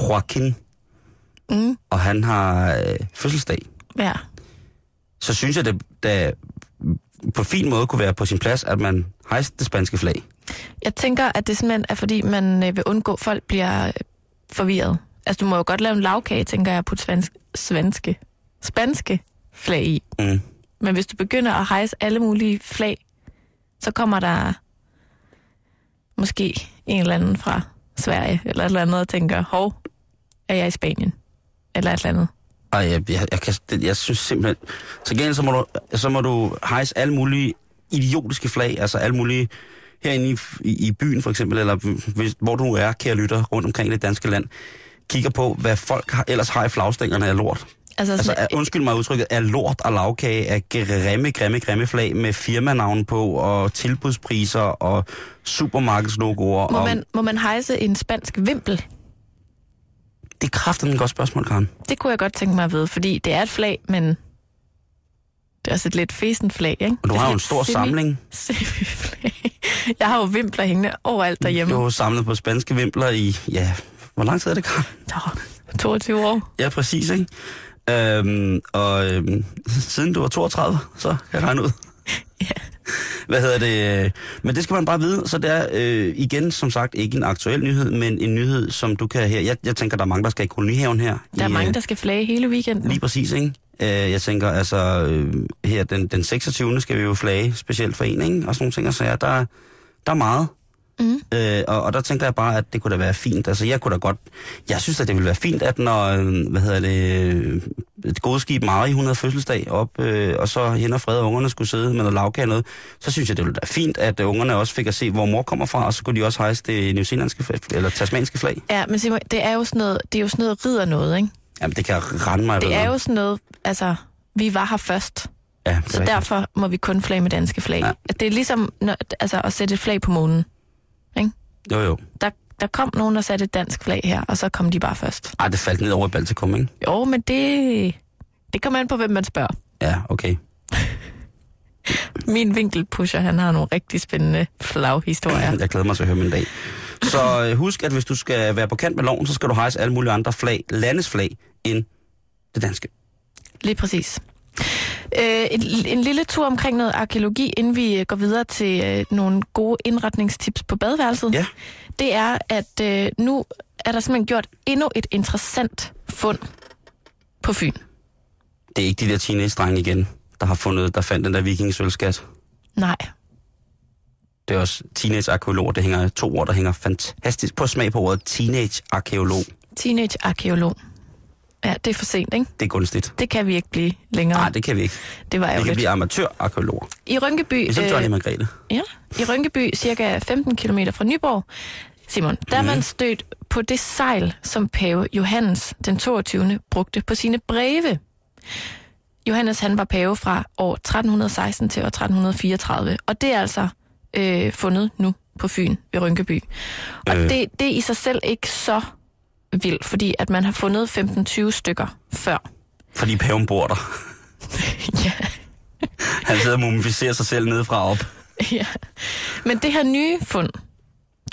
H: Joaquin,
F: Mm.
H: og han har øh, fødselsdag,
F: Ja.
H: så synes jeg, det da på fin måde kunne være på sin plads, at man hejste det spanske flag.
F: Jeg tænker, at det simpelthen er, fordi man øh, vil undgå, at folk bliver øh, forvirret. Altså, du må jo godt lave en lavkage, tænker jeg, på svensk, svenske spanske flag i.
H: Mm.
F: Men hvis du begynder at hejse alle mulige flag, så kommer der måske en eller anden fra Sverige eller et eller andet og tænker, hov, er jeg i Spanien? Eller et eller andet.
H: Ej, jeg, jeg, jeg, kan, det, jeg synes simpelthen... Til gengæld, så må, du, så må du hejse alle mulige idiotiske flag, altså alle mulige herinde i, i, i byen for eksempel, eller hvis, hvor du er, kære lytter, rundt omkring i det danske land, kigger på, hvad folk har, ellers har i flagstængerne af lort.
F: Altså,
H: Altså, er, undskyld mig udtrykket, er lort og lavkage er grimme, grimme, grimme flag med firmanavn på, og tilbudspriser, og supermarkedslogoer.
F: må,
H: og,
F: man, må man hejse en spansk vimpel?
H: Det er kraftigt et godt spørgsmål, Karen.
F: Det kunne jeg godt tænke mig at vide, fordi det er et flag, men det er også et lidt fesen flag, ikke?
H: Og du
F: Det er
H: har jo en
F: sådan
H: stor
F: et semi-
H: samling.
F: semi-flag. Jeg har jo vimpler hængende overalt derhjemme.
H: Du har jo samlet på spanske vimpler i, ja, hvor lang tid er det, Karen?
F: Nå, 22 år.
H: Ja, præcis, ikke? Øhm, og øhm, siden du var 32, så kan
F: (laughs)
H: jeg regne ud. Hvad hedder det? øh, Men det skal man bare vide, så det er øh, igen, som sagt, ikke en aktuel nyhed, men en nyhed, som du kan her. Jeg, jeg tænker, der er mange, der skal i kolonihaven her.
F: Der er
H: i,
F: mange,
H: øh,
F: der skal flage hele weekenden.
H: Lige præcis, ikke? Øh, jeg tænker, altså, øh, her den, den 26. skal vi jo flage, specielt for en, ikke? Og sådan nogle ting, og så der, er- der er meget.
F: Mm.
H: Øh, og, og der tænker jeg bare, at det kunne da være fint. Altså, jeg kunne da godt... Jeg synes, at det ville være fint, at når, øh, hvad hedder det, øh, et gode skib Mari, hun havde fødselsdag op, øh, og så hende og Fred og ungerne skulle sidde med noget lavkage og noget, så synes jeg, det ville være fint, at øh, ungerne også fik at se, hvor mor kommer fra, og så kunne de også hejse det newzealandske flag, eller tasmanske flag.
F: Ja, men Simon, det er jo sådan noget, det er jo sådan noget ridder noget, ikke?
H: Jamen, det kan rende mig.
F: Det
H: ved
F: er
H: noget.
F: jo sådan noget, altså, vi var her først,
H: Ja, det er
F: så
H: rigtigt.
F: derfor må vi kun flage med danske flag.
H: Ja.
F: Det er ligesom når, altså, at sætte et flag på månen.
H: Jo, jo.
F: Der, der kom nogen og satte et dansk flag her, og så kom de bare først.
H: Ej, Ah, det faldt ned over i Baltikum, ikke?
F: Jo, men det, det kommer an på, hvem man spørger.
H: Ja, okay.
F: Min vinkelpusher, han har nogle rigtig spændende flaghistorier.
H: Jeg glæder mig til at høre min dag. Så øh, husk, at hvis du skal være på kant med loven, så skal du hejse alle mulige andre flag, landes flag, end det danske.
F: Lige præcis. Øh, en, en lille tur omkring noget arkeologi, inden vi øh, går videre til øh, nogle gode indretningstips på badeværelset.
H: Ja.
F: Det er, at øh, nu er der simpelthen gjort endnu et interessant fund på Fyn.
H: Det er ikke de der teenage-drenge igen, der har fundet, der fandt den der vikingsølskat.
F: Nej,
H: Det er også teenage-arkeologer, det hænger to ord, der hænger fantastisk på smag på ordet teenage-arkeolog.
F: teenage-arkeolog. Ja, det er for sent, ikke?
H: Det er gunstigt.
F: Det kan vi ikke blive længere.
H: Nej, det kan vi ikke.
F: det var
H: Vi kan
F: ærgerligt. Øh.
H: blive amatør-arkeologer.
F: I Rynkeby...
H: Ligesom Johnny Margrethe.
F: Ja, i Rynkeby, cirka 15 km fra Nyborg, Simon, der er man stødt på det sejl, som pave Johannes den 22. brugte på sine breve. Johannes han var pave fra år 1316 til år 1334, og det er altså øh, fundet nu på Fyn ved Rynkeby. Og
H: Øh.
F: øh. det, det er i sig selv ikke så vildt, fordi at man har fundet 15-20 stykker før.
H: Fordi paven bor der.
F: ja.
H: Han sidder og mumificerer sig selv nedefra og op.
F: (laughs) Ja. Men det her nye fund,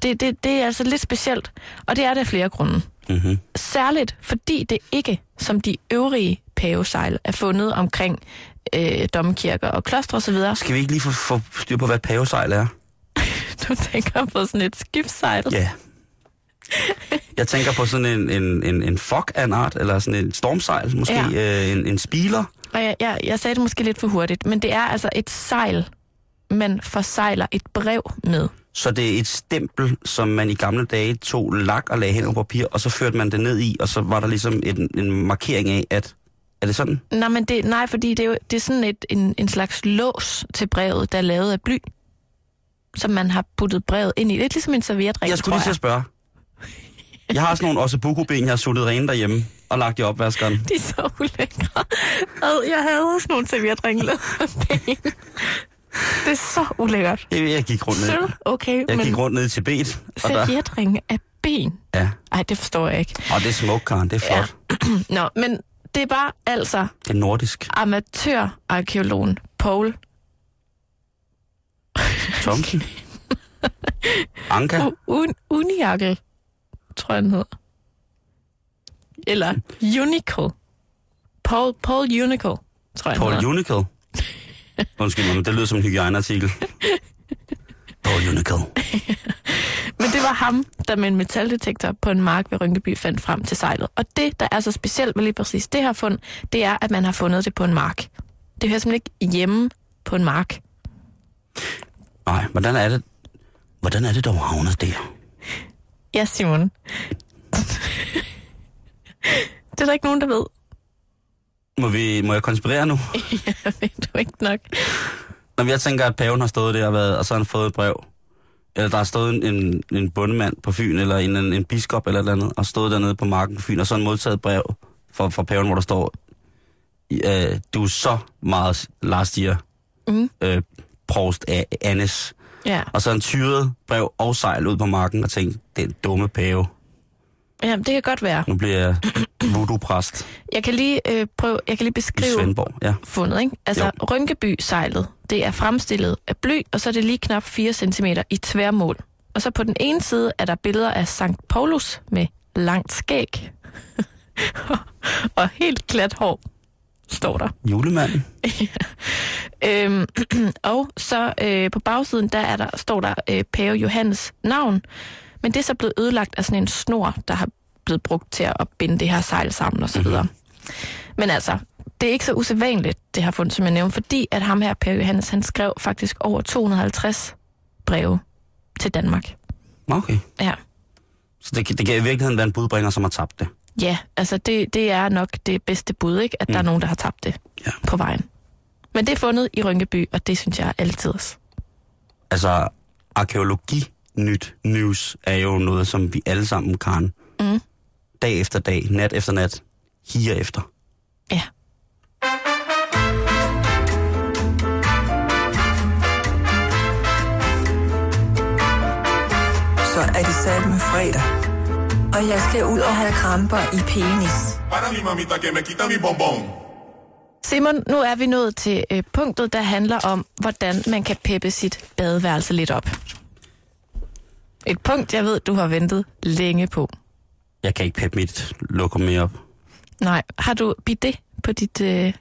F: det, det, det er altså lidt specielt, og det er der flere grunde.
H: Mm-hmm.
F: Særligt fordi det ikke, som de øvrige pavesejl, er fundet omkring øh, domkirker og klostre osv. (laughs)
H: Skal vi ikke lige få, få styr på, hvad et pavesejl er?
F: Du tænker på sådan et skibssejl.
H: Ja. Jeg tænker på sådan en, en, en, en fog af en art, eller sådan en stormsejl, måske ja. øh, en, en spiler.
F: Og jeg, jeg, jeg sagde det måske lidt for hurtigt, men det er altså et sejl, man forsejler et brev med.
H: Så det er et stempel, som man i gamle dage tog lak og lagde hen over papir, og så førte man det ned i, og så var der ligesom en, en markering af, at er det sådan?
F: Nej, men det, nej fordi det er, jo, det er sådan et, en, en slags lås til brevet, der er lavet af bly, som man har puttet brevet ind i. Lidt ligesom en servietring,
H: jeg skulle lige
F: tror
H: til at spørge. Jeg har sådan nogle ossebuko-ben, jeg har suttet rene derhjemme og lagt i opvaskeren.
F: (laughs) De er så ulækre. Ad, Jeg havde også nogle servietringe lavet af ben. Det er så ulækkert.
H: Jeg, jeg gik rundt ned.
F: Sølv, okay,
H: Jeg
F: men
H: gik rundt ned i Tibet. Og der,
F: servietringe af ben.
H: ja.
F: Ej, det forstår jeg ikke.
H: Og det er smukt, Karen. Det er flot. Ja.
F: Nå, men det var altså
H: Det er nordisk.
F: amatørarkeologen Paul
H: (laughs) Thompson. Anka.
F: U- Un- Uniakel, tror jeg, han hedder. Eller Unical. Paul, Paul Unical, tror jeg, han
H: Paul
F: hedder.
H: Unical. Undskyld mig, men det lyder som en hygiejneartikel. Paul Unical.
F: Men Men det var ham, der med en metaldetektor på en mark ved Rynkeby fandt frem til sejlet. Og det, der er så specielt ved lige præcis det her fund, det er, at man har fundet det på en mark. Det hører simpelthen ikke hjemme på en mark.
H: Nej, hvordan er det, hvordan er det dog havnet der?
F: Ja, Simon. det er der ikke nogen, der (laughs) ved.
H: Må, vi, må jeg konspirere nu?
F: Ja, ved du ikke nok.
H: Når jeg tænker, at paven har stået der og, været, og så har han fået et brev, eller der har stået en, en, en bundemand på Fyn, eller en, en, en biskop eller et eller andet, og stået dernede på marken på Fyn, og så har han modtaget et brev fra, fra paven, hvor der står, øh, du er så meget Lars Stier,
F: Mm.
H: øh, prost af Annes.
F: Ja.
H: Og så har han tyret brev og sejl ud på marken og tænkt, den dumme pave,
F: ja, det kan godt være.
H: nu bliver jeg voodoo-præst
F: Jeg kan lige, øh, prøve, jeg kan lige
H: i
F: beskrive
H: Svendborg. Ja.
F: fundet, ikke? Altså,
H: Jo.
F: jo. Rynkeby-sejlet, det er fremstillet af bly, og så er det lige knap 4 cm i tværmål. Og så på den ene side er der billeder af Sankt Paulus med langt skæg (laughs) og helt glat hår, står der.
H: Julemanden.
F: Øhm, (clears throat) og så øh, på bagsiden, der, er der står der øh, Pave Johannes navn, men det er så blevet ødelagt af sådan en snor, der har blevet brugt til at binde det her sejl sammen osv. Mm-hmm. Men altså, det er ikke så usædvanligt, det her fund, som jeg nævnte, fordi at ham her, Pave Johannes, han skrev faktisk over 250 breve til Danmark.
H: Nå, Okay.
F: Ja,
H: Så det, det kan i virkeligheden være en budbringer, som har tabt det.
F: ja altså det, det er nok det bedste bud, ikke? At der er nogen, der har tabt det
H: Ja.
F: på vejen. Men det er fundet i Rynkeby, og det synes jeg er altid.
H: Altså, arkeologi nyt news er jo noget, som vi alle sammen kan. Mm. Dag efter dag, nat efter nat, higer efter.
F: Ja.
C: Så er det sat med fredag.
E: Og jeg skal ud og have kramper i penis.
J: Para mi mamita que me quita mi bombón.
F: Simon, nu er vi nået til øh, punktet, der handler om, hvordan man kan peppe sit badeværelse lidt op. Et punkt, jeg ved, du har ventet længe på.
H: Jeg kan ikke peppe mit lokum mere op.
F: Nej, har du bidet på dit øh,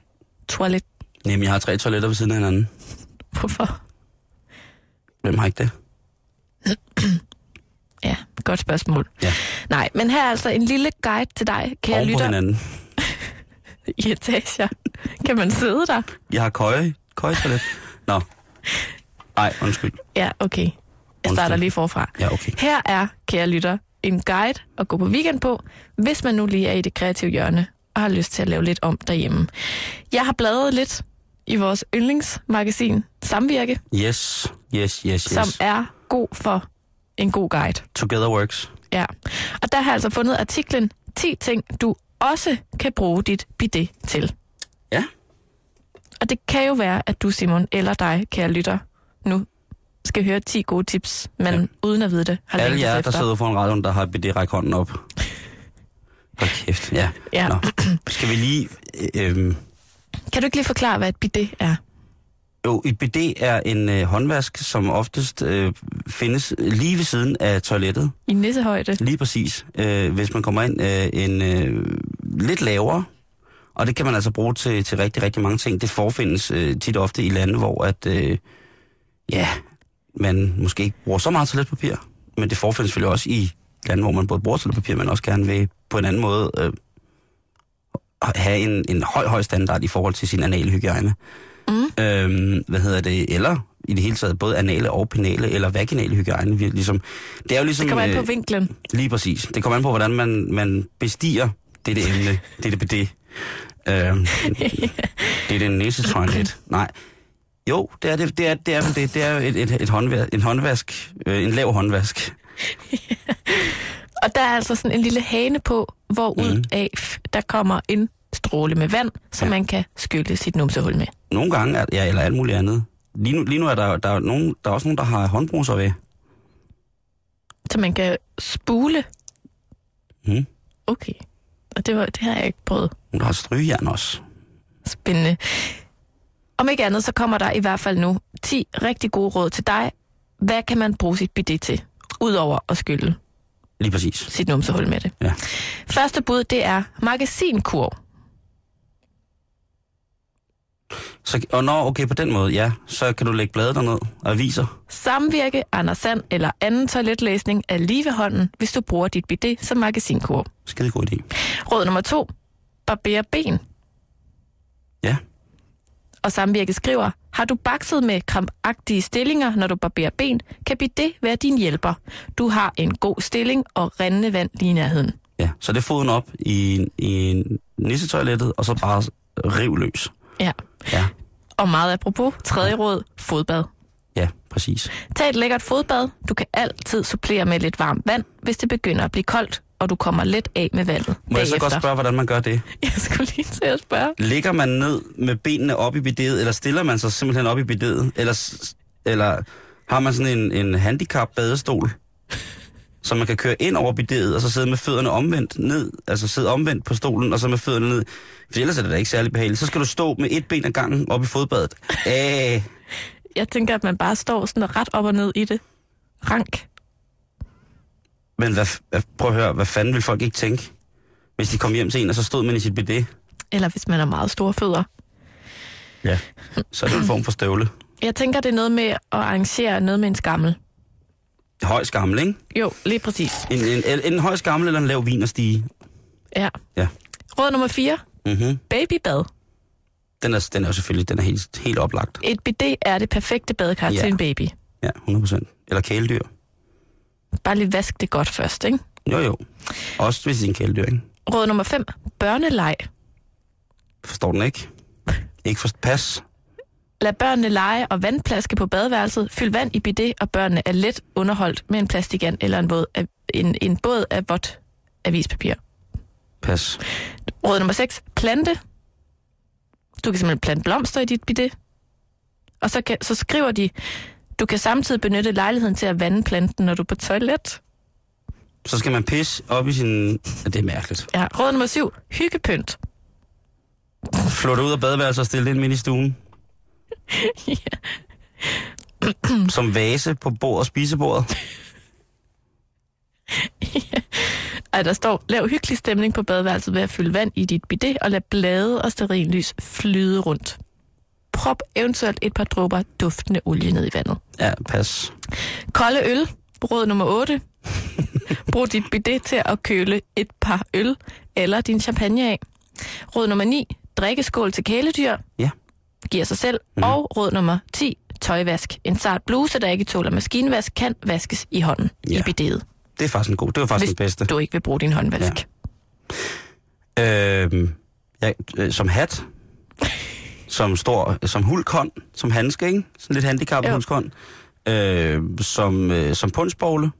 F: toilet?
H: Jamen, jeg har tre toiletter ved siden af hinanden.
F: Hvorfor?
H: Hvem har ikke det?
F: Ja, godt spørgsmål.
H: Ja.
F: Nej, men her er altså en lille guide til dig, kære
H: Oven på
F: lytter.
H: hinanden.
F: I etager. Kan man sidde der?
H: Jeg har køje, køje
F: (laughs)
H: toilet. Nå. Nej, undskyld.
F: Ja, okay. Jeg starter
H: Undskyld.
F: lige forfra.
H: Ja, okay.
F: Her er, kære lytter, en guide at gå på weekend på, hvis man nu lige er i det kreative hjørne og har lyst til at lave lidt om derhjemme. Jeg har bladret lidt i vores yndlingsmagasin Samvirke, yes.
H: Yes, yes, yes, yes.
F: som er god for en god guide.
H: Together works.
F: Ja. Og der har jeg altså fundet artiklen 10 ting, du også kan bruge dit bidet til.
H: Ja.
F: Og det kan jo være, at du, Simon, eller dig, kære lytter, nu skal høre 10 gode tips, men
H: Ja.
F: ja. uden at vide det, har
H: Alle
F: længtes
H: jer, der
F: efter.
H: sidder foran radioen, der har BD, ræk hånden op. Hold kæft, ja.
F: Ja.
H: Nå. Skal vi lige... Øh,
F: Kan du ikke lige forklare, hvad et bidet er?
H: jo, et BD er en øh, håndvask, som oftest øh, findes lige ved siden af toilettet.
F: I nissehøjde?
H: Lige præcis. Øh, hvis man kommer ind øh, en øh, lidt lavere, og det kan man altså bruge til, til rigtig, rigtig mange ting. Det forfindes øh, tit og ofte i lande, hvor at, øh, ja, man måske ikke bruger så meget toiletpapir, men det forfindes selvfølgelig også i lande, hvor man både bruger toiletpapir, men også gerne vil på en anden måde øh, have en, en høj, høj standard i forhold til sin anale hygiejne. Mm. Øhm, hvad hedder det? Eller i det hele taget både anale og penale, eller vaginale hygiejne. Vi- Ligesom, det er jo ligesom...
F: Det kommer an på
H: øh,
F: vinklen.
H: Lige præcis. Det kommer an på, hvordan man, man bestiger dette emne, dette BD. Øhm, det er den næste toilet. Nej. Jo, det er det. Det er, det er, det, det er jo et, et, et håndvask, en håndvask, øh, en lav håndvask.
F: Og der er altså sådan en lille hane på, hvor ud af der kommer en stråle med vand, som
H: Mm. Ja.
F: man kan skylle sit numsehul med.
H: Nogle gange, er, ja, eller alt muligt andet. Lige nu, lige nu er der, der, er nogen, der er også nogen, der har håndbruser ved.
F: Så man kan spule.
H: Mhm.
F: Okay. Og det, var, det har jeg ikke prøvet.
H: Nogen, der har strygejern også.
F: Spændende. Om ikke andet, så kommer der i hvert fald nu 10 rigtig gode råd til dig. Hvad kan man bruge sit bidet til? Udover at skylle
H: Lige præcis.
F: sit numsehul med det.
H: Ja.
F: Første bud, det er magasinkurv.
H: Så, og nå, okay, på den måde, ja. Så kan du lægge bladet derned og aviser.
F: Samvirke, Anders Sand eller anden toiletlæsning er lige ved hånden, hvis du bruger dit bidet som magasinkur.
H: Skide god idé.
F: Råd nummer to. Barber ben.
H: Ja.
F: Og samvirke skriver, har du bakset med krampagtige stillinger, når du barberer ben, kan bidet være din hjælper. Du har en god stilling og rendende vand lige i nærheden.
H: Ja, så det er foden op i, i nissetoilettet, og så bare riv løs.
F: Ja.
H: Ja,
F: Og meget apropos, tredje råd, fodbad.
H: ja, præcis.
F: Tag et lækkert fodbad. Du kan altid supplere med lidt varmt vand, hvis det begynder at blive koldt, og du kommer let af med vandet.
H: Må jeg så
F: bagefter.
H: godt spørge, hvordan man gør det?
F: (laughs) Jeg skulle lige til at spørge.
H: Ligger man ned med benene op i bidet, eller stiller man sig simpelthen op i bidet? Eller, s- eller har man sådan en, en handicap-badestol, som man kan køre ind over bidet, og så sidde med fødderne omvendt ned, altså sidde omvendt på stolen, og så med fødderne ned. For ellers er det da ikke særlig behageligt. Så skal du stå med et ben ad gangen op i fodbadet. Æh,
F: Jeg tænker, at man bare står sådan ret op og ned i det. Rank.
H: men hvad, f- hvad, prøv at høre, hvad fanden vil folk ikke tænke, hvis de kom hjem til en, og så stod man i sit bidet?
F: Eller hvis man har meget store fødder.
H: Ja. Så er det en form for støvle.
F: Jeg tænker, det er noget med at arrangere noget med en skammel.
H: Høj skammel, ikke?
F: Jo, lige præcis.
H: En, en, en, en høj skammel eller en lav vinerstige.
F: Ja.
H: Ja.
F: Råd nummer 4.
H: Mm-hmm.
F: Babybad.
H: Den er, den er jo selvfølgelig den er helt, helt oplagt.
F: Et bidet er det perfekte badekar
H: Ja.
F: til en baby.
H: Ja, 100%. Eller kæledyr.
F: Bare lige vask det godt først, ikke?
H: Jo, jo. Også hvis det er en kæledyr, ikke?
F: Råd nummer 5. Børneleg.
H: Forstår den ikke? Ikke for pas.
F: Lad børnene lege og vandplaske på badeværelset. Fyld vand i bidet, og børnene er let underholdt med en plastikand eller en, våd af, en, en båd af vådt avispapir.
H: Pas.
F: Råd nummer 6. Plante. Du kan simpelthen plante blomster i dit bidet. Og så, kan, så skriver de, du kan samtidig benytte lejligheden til at vande planten, når du er på toilet.
H: Så skal man pisse op i sin... Ja, det er mærkeligt.
F: Ja. Råd nummer 7. Hyggepynt.
H: Flytte ud af badeværelset og stille det ind midt i stuen. Som vase på bordet og spisebordet.
F: Ej, der står, lav hyggelig stemning på badeværelset ved at fylde vand i dit bidet og lad blade og sterinlys flyde rundt. Prop eventuelt et par dråber duftende olie ned i vandet.
H: Ja, pas.
F: Kolde øl, råd nummer 8. Brug dit bidet til at køle et par øl eller din champagne af. Råd nummer 9. Drikkeskål til kæledyr.
H: Ja. Mhm.
F: Giver sig selv. Mm. Og råd nummer 10. Tøjvask. En sart bluse, der ikke tåler maskinvask, kan vaskes i hånden ja.
H: Ja.
F: i bidet,
H: Det er faktisk en god. Det var faktisk
F: hvis
H: den bedste.
F: du ikke vil bruge din håndvask. Ja.
H: Øhm, ja, øh, som hat, som stor, som hulkhånd, som handske, ikke? Sådan lidt handicappet
F: Jo.
H: hulkhånd. Øh, som, øh, som pundsbogle,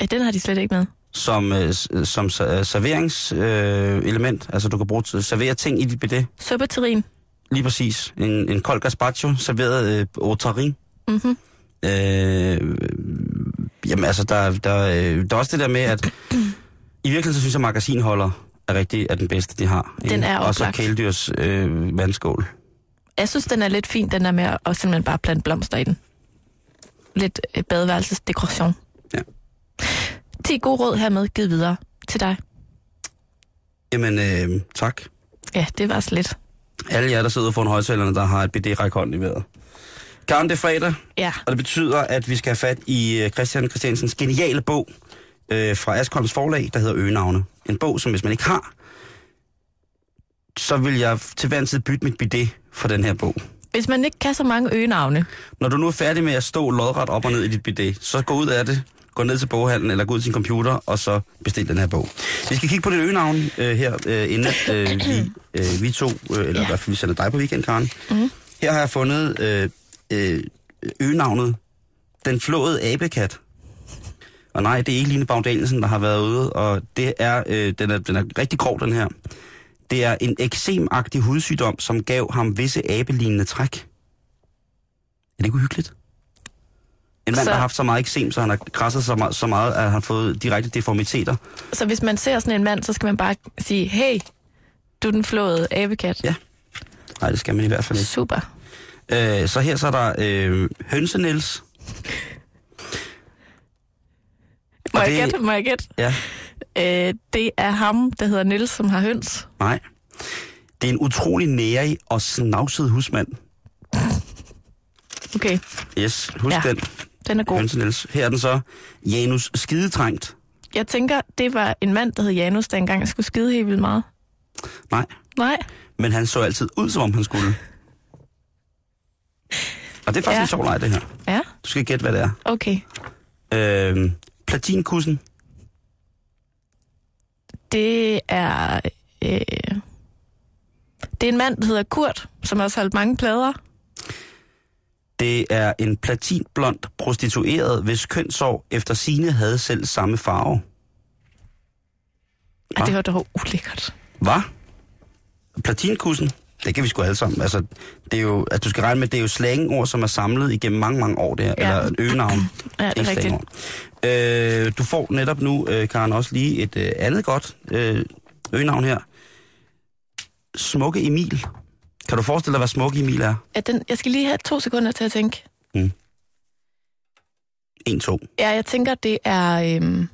F: ja, den har de slet ikke med.
H: som, øh, s- øh, som ser- øh, serveringselement, øh, element. altså du kan bruge til, servere ting i dit bidet.
F: Suppeterrin.
H: Lige præcis. En, en kold gazpacho, serveret øh, au tarin.
F: Mm-hmm.
H: Øh, jamen altså, der, der, øh, der er også det der med, at (clears throat) i virkeligheden så synes jeg, at magasinholder er rigtig er den bedste, de har. ikke?
F: Den er
H: Og så
F: oplagt.
H: kæledyrs øh, vandskål.
F: Jeg synes, den er lidt fin, den der med at- at simpelthen bare plante blomster i den. Lidt øh, badeværelsesdekoration.
H: Ja.
F: 10 gode råd hermed givet videre til dig.
H: Jamen, øh, tak.
F: Ja, det var så lidt.
H: Alle jer, der sidder foran højtalerne, der har et BD række hånd i vejret. Karen, det er fredag,
F: Ja,
H: og det betyder, at vi skal have fat i øh, Christian Christiansens geniale bog øh, fra Askholms forlag, der hedder Øgenavne. En bog, som hvis man ikke har, så vil jeg til hver en tid bytte mit BD for den her bog.
F: hvis man ikke kan så mange øgenavne,
H: Når du nu er færdig med at stå lodret op og ned i dit bidet, så gå ud af det, gå ned til boghandlen eller gå ud til din computer, og så bestil den her bog. Vi skal kigge på det øgenavn øh, her, øh, inden at, øh, vi, øh, vi to, øh, eller ja. i hvert fald vi sender dig på weekend, Karen. Mm. Her har jeg fundet øh, øh, øgenavnet Den Flåede Abekat. Og nej, det er ikke Line Bagdalsen, der har været ude, og det er, øh, den, er, den er rigtig grov, den her. Det er en eksemagtig hudsygdom, som gav ham visse abelignende træk. Er det ikke uhyggeligt? En mand,
F: Så-
H: så... der har haft så meget eksem, så han har krasset så meget, så meget, at han har fået direkte deformiteter.
F: så hvis man ser sådan en mand, så skal man bare sige, hey, du er den flåede abekat.
H: Ja. Nej, det skal man i hvert fald ikke.
F: Super.
H: Øh, så her så er der øh, Hønsenels.
F: Må
H: Og
F: jeg
H: det-
F: gætte, må jeg gætte?
H: Ja,
F: Øh, det er ham, der hedder Nils, som har høns.
H: nej. Det er en utrolig nærig og snavset husmand.
F: Okay,
H: Yes, husk
F: Ja.
H: ja. den.
F: den er god.
H: Hønse Niels. Her er den så. Janus Skidetrængt.
F: Jeg tænker, det var en mand, der hed Janus, der engang skulle skide helt vildt meget.
H: Nej,
F: Nej,
H: men han så altid ud, som om han skulle. Og det er faktisk
F: Ja.
H: ja. en sjov leg, det her.
F: ja,
H: Du skal gætte, hvad det er.
F: okay.
H: Øhm, platinkussen.
F: Det er... Øh, det er en mand, der hedder Kurt, som også har holdt mange plader.
H: Det er en platinblond prostitueret, hvis kønssorg efter sine havde selv samme farve.
F: Ej, det var dog ulækkert.
H: Hvad? Platinkussen? Det kan vi sgu alle sammen. Altså, det er jo, at du skal regne med, det er jo slangord, som er samlet igennem mange, mange år. Det her,
F: Ja.
H: ja. Eller et øgenavn.
F: Ja, det er rigtigt.
H: rigtigt. Øh, du får netop nu, øh, Karen, også lige et øh, andet godt øh, øgenavn her. Smukke Emil. Kan du forestille dig, hvad Smukke Emil er?
F: Ja, den, jeg skal lige have to sekunder til at tænke.
H: 1, 2.
F: Ja, jeg tænker, det er øhm,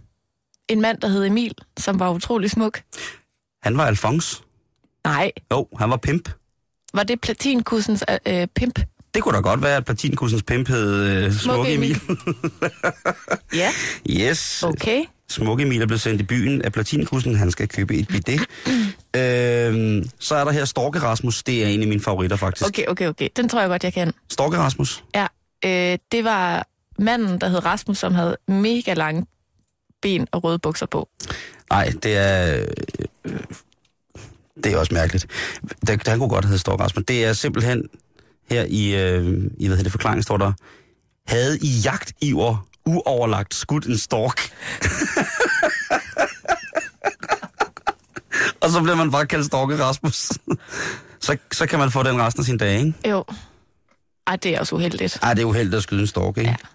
F: en mand, der hed Emil, som var utrolig smuk.
H: Han var Alfons.
F: Nej,
H: Jo, han var pimp.
F: var det platinkussens øh, pimp?
H: Det kunne da godt være, at platinkussens pimp hed øh, Smukke Emil. (laughs)
F: Ja.
H: Yes.
F: Okay.
H: Smukke Emil er blevet sendt i byen af platinkussen. Han skal købe et bidet. øhm, så er der her Storke Rasmus. Det er en af mine favoritter, faktisk. Okay.
F: Okay, okay, okay. Den tror jeg godt, jeg kan.
H: Storke Rasmus.
F: Ja, øh, det var manden, der hed Rasmus, som havde mega lange ben og røde bukser på.
H: Nej, det er... Øh, øh, det er også mærkeligt. Der, der kunne godt hedde Storke Rasmus. Det er simpelthen her i, øh, i hvad hedder det, forklaringen står der, havde i jagt i år uoverlagt skudt en stork. (laughs) og så bliver man bare kaldt Storke Rasmus. (laughs) så, så kan man få den resten af sin dag, ikke?
F: Jo. Ej, det er også uheldigt.
H: Ej, det er uheldigt at skyde en stork, ikke?
F: Ja.
H: Ja.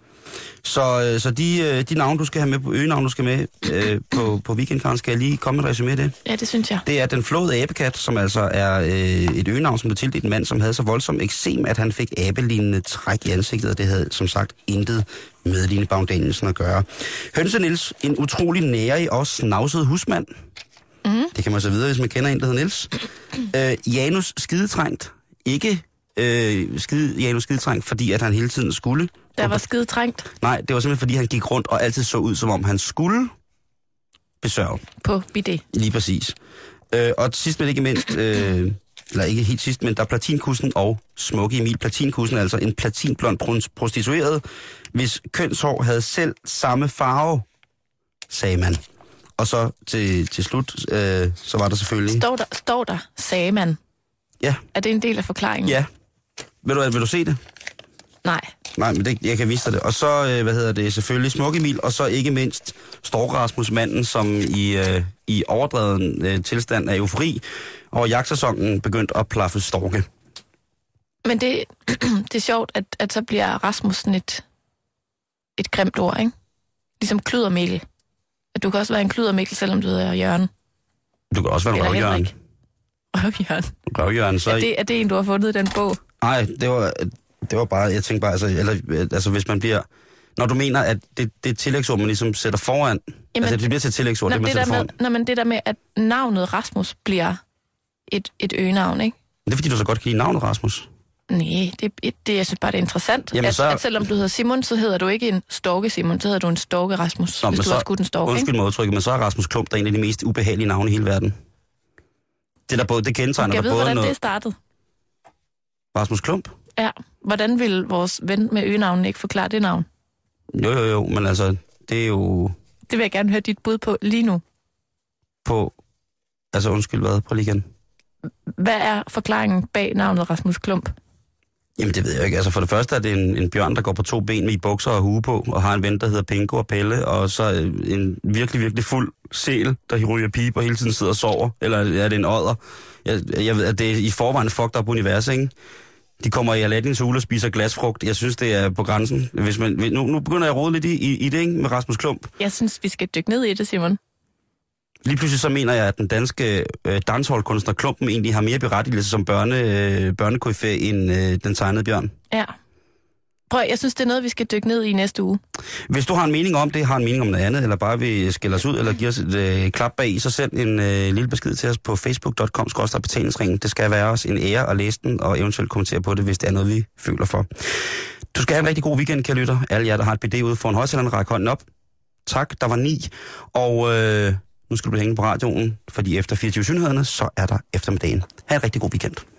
H: Så, øh, så de, øh, de navne, du skal have med på øgenavn, du skal med øh, på, på weekendkaren, skal jeg lige komme med et resume af det.
F: Ja, det synes jeg.
H: Det er den flåede abekat, som altså er øh, et øgenavn, som blev tildelt en mand, som havde så voldsom eksem, at han fik abelignende træk i ansigtet, og det havde som sagt intet med Line Baum Danielsen at gøre. Hønse Niels, en utrolig nærig og snavset husmand.
F: Mhm.
H: Mm. Det kan man så videre, hvis man kender en, der hedder Niels. Øh, Janus Skidetrængt. Ikke øh, skide, Janus Skidetrængt, fordi at han hele tiden skulle.
F: Der var skide trængt
H: Nej, det var simpelthen, fordi han gik rundt og altid så ud, som om han skulle besørge.
F: på BD.
H: Lige præcis. Øh, og sidst men ikke mindst, øh, eller ikke helt sidst, men der er platinkussen og Smukke Emil. Platinkussen er altså en platinblond prun- prostitueret, hvis kønshår havde selv samme farve, sagde man. Og så til, til slut, øh, så var der selvfølgelig...
F: Står der, står der, sagde man.
H: Ja,
F: Er det en del af forklaringen?
H: ja. Vil du, vil du se det?
F: Nej.
H: Nej, men det, jeg kan vise dig det. Og så, øh, hvad hedder det, selvfølgelig Smuk Emil, og så ikke mindst Stork Rasmus Manden, som i, øh, i overdreven øh, tilstand af eufori over jagtsæsonen begyndte at plaffe storke.
F: Men det, (clears throat) det er sjovt, at, at så bliver Rasmussen et, et grimt ord, ikke? Ligesom kludermikkel. At du kan også være en kludermikkel, selvom du hedder Jørgen.
H: Du kan også være en
F: Eller
H: røvjørn.
F: Henrik. Røvjørn.
H: Røvjørn, så...
F: Er det, er det en, du har fundet i den bog?
H: Nej, det var, det var bare, jeg tænkte bare, altså, eller, øh, altså hvis man bliver... Når du mener, at det, det er et tillægsord, man ligesom sætter foran... Jamen, altså, det bliver til et tillægsord,
F: Nå,
H: det man
F: det, der
H: sætter foran.
F: med, nå, men det der med, at navnet Rasmus bliver et, et øgenavn, ikke?
H: Det er fordi, du så godt kan lide navnet, Rasmus.
F: Nej, det, det, jeg synes bare, det er interessant.
H: Jamen,
F: at,
H: så-
F: at, selvom du hedder Simon, så hedder du ikke en storke Simon, så hedder du en storke Rasmus, Nå, hvis
H: men
F: du så... har skudt en storke, ikke?
H: Undskyld mig udtrykket, men så er Rasmus Klump der en af de mest ubehagelige navne i hele verden. Det, der både, det kendetegner
F: Jeg
H: der
F: ved,
H: både
F: hvordan
H: noget...
F: det startede.
H: Rasmus Klump?
F: Ja. Hvordan vil vores ven med øgenavnen ikke forklare det navn?
H: Jo, jo, jo, men altså, det er jo
F: Det vil jeg gerne høre dit bud på lige nu.
H: på... Altså, undskyld, hvad? Prøv lige igen.
F: Hvad er forklaringen bag navnet Rasmus Klump?
H: Jamen, det ved jeg ikke. Altså, for det første er det en, en bjørn, der går på to ben med i bukser og hue på, og har en ven, der hedder Pingo og Pelle, og så øh, en virkelig, virkelig fuld sel, der ryger pipe og hele tiden sidder og sover. Eller er det en ådder? Jeg, jeg ved, at det er i forvejen fucked up univers, ikke? De kommer i Aladdins hule og spiser glasfrugt. Jeg synes, det er på grænsen. Hvis man, nu, nu begynder jeg at rode lidt i, i, i det, ikke? Med Rasmus Klump.
F: Jeg synes, vi skal dykke ned i det, Simon.
H: Lige pludselig så mener jeg, at den danske øh, dansholdkunstner Klumpen egentlig har mere berettigelse som børne, øh, børnekoryfæ end øh, den tegnede bjørn.
F: Ja. Prøv, jeg synes, det er noget, vi skal dykke ned i næste uge.
H: Hvis du har en mening om det, har en mening om noget andet, eller bare vil skælde os ud, eller give os et øh, klap bag i, så send en øh, lille besked til os på facebook.com betalingsringen. Det skal være os en ære at læse den, og eventuelt kommentere på det, hvis det er noget, vi føler for. Du skal have en rigtig god weekend, kære lytter. Alle jer, der har et BD ude for en højtalerne, ræk hånden op. Tak, der var ni. Og øh, nu skal du blive hængende på radioen, fordi efter 24 synhederne, så er der eftermiddagen. Ha' en rigtig god weekend.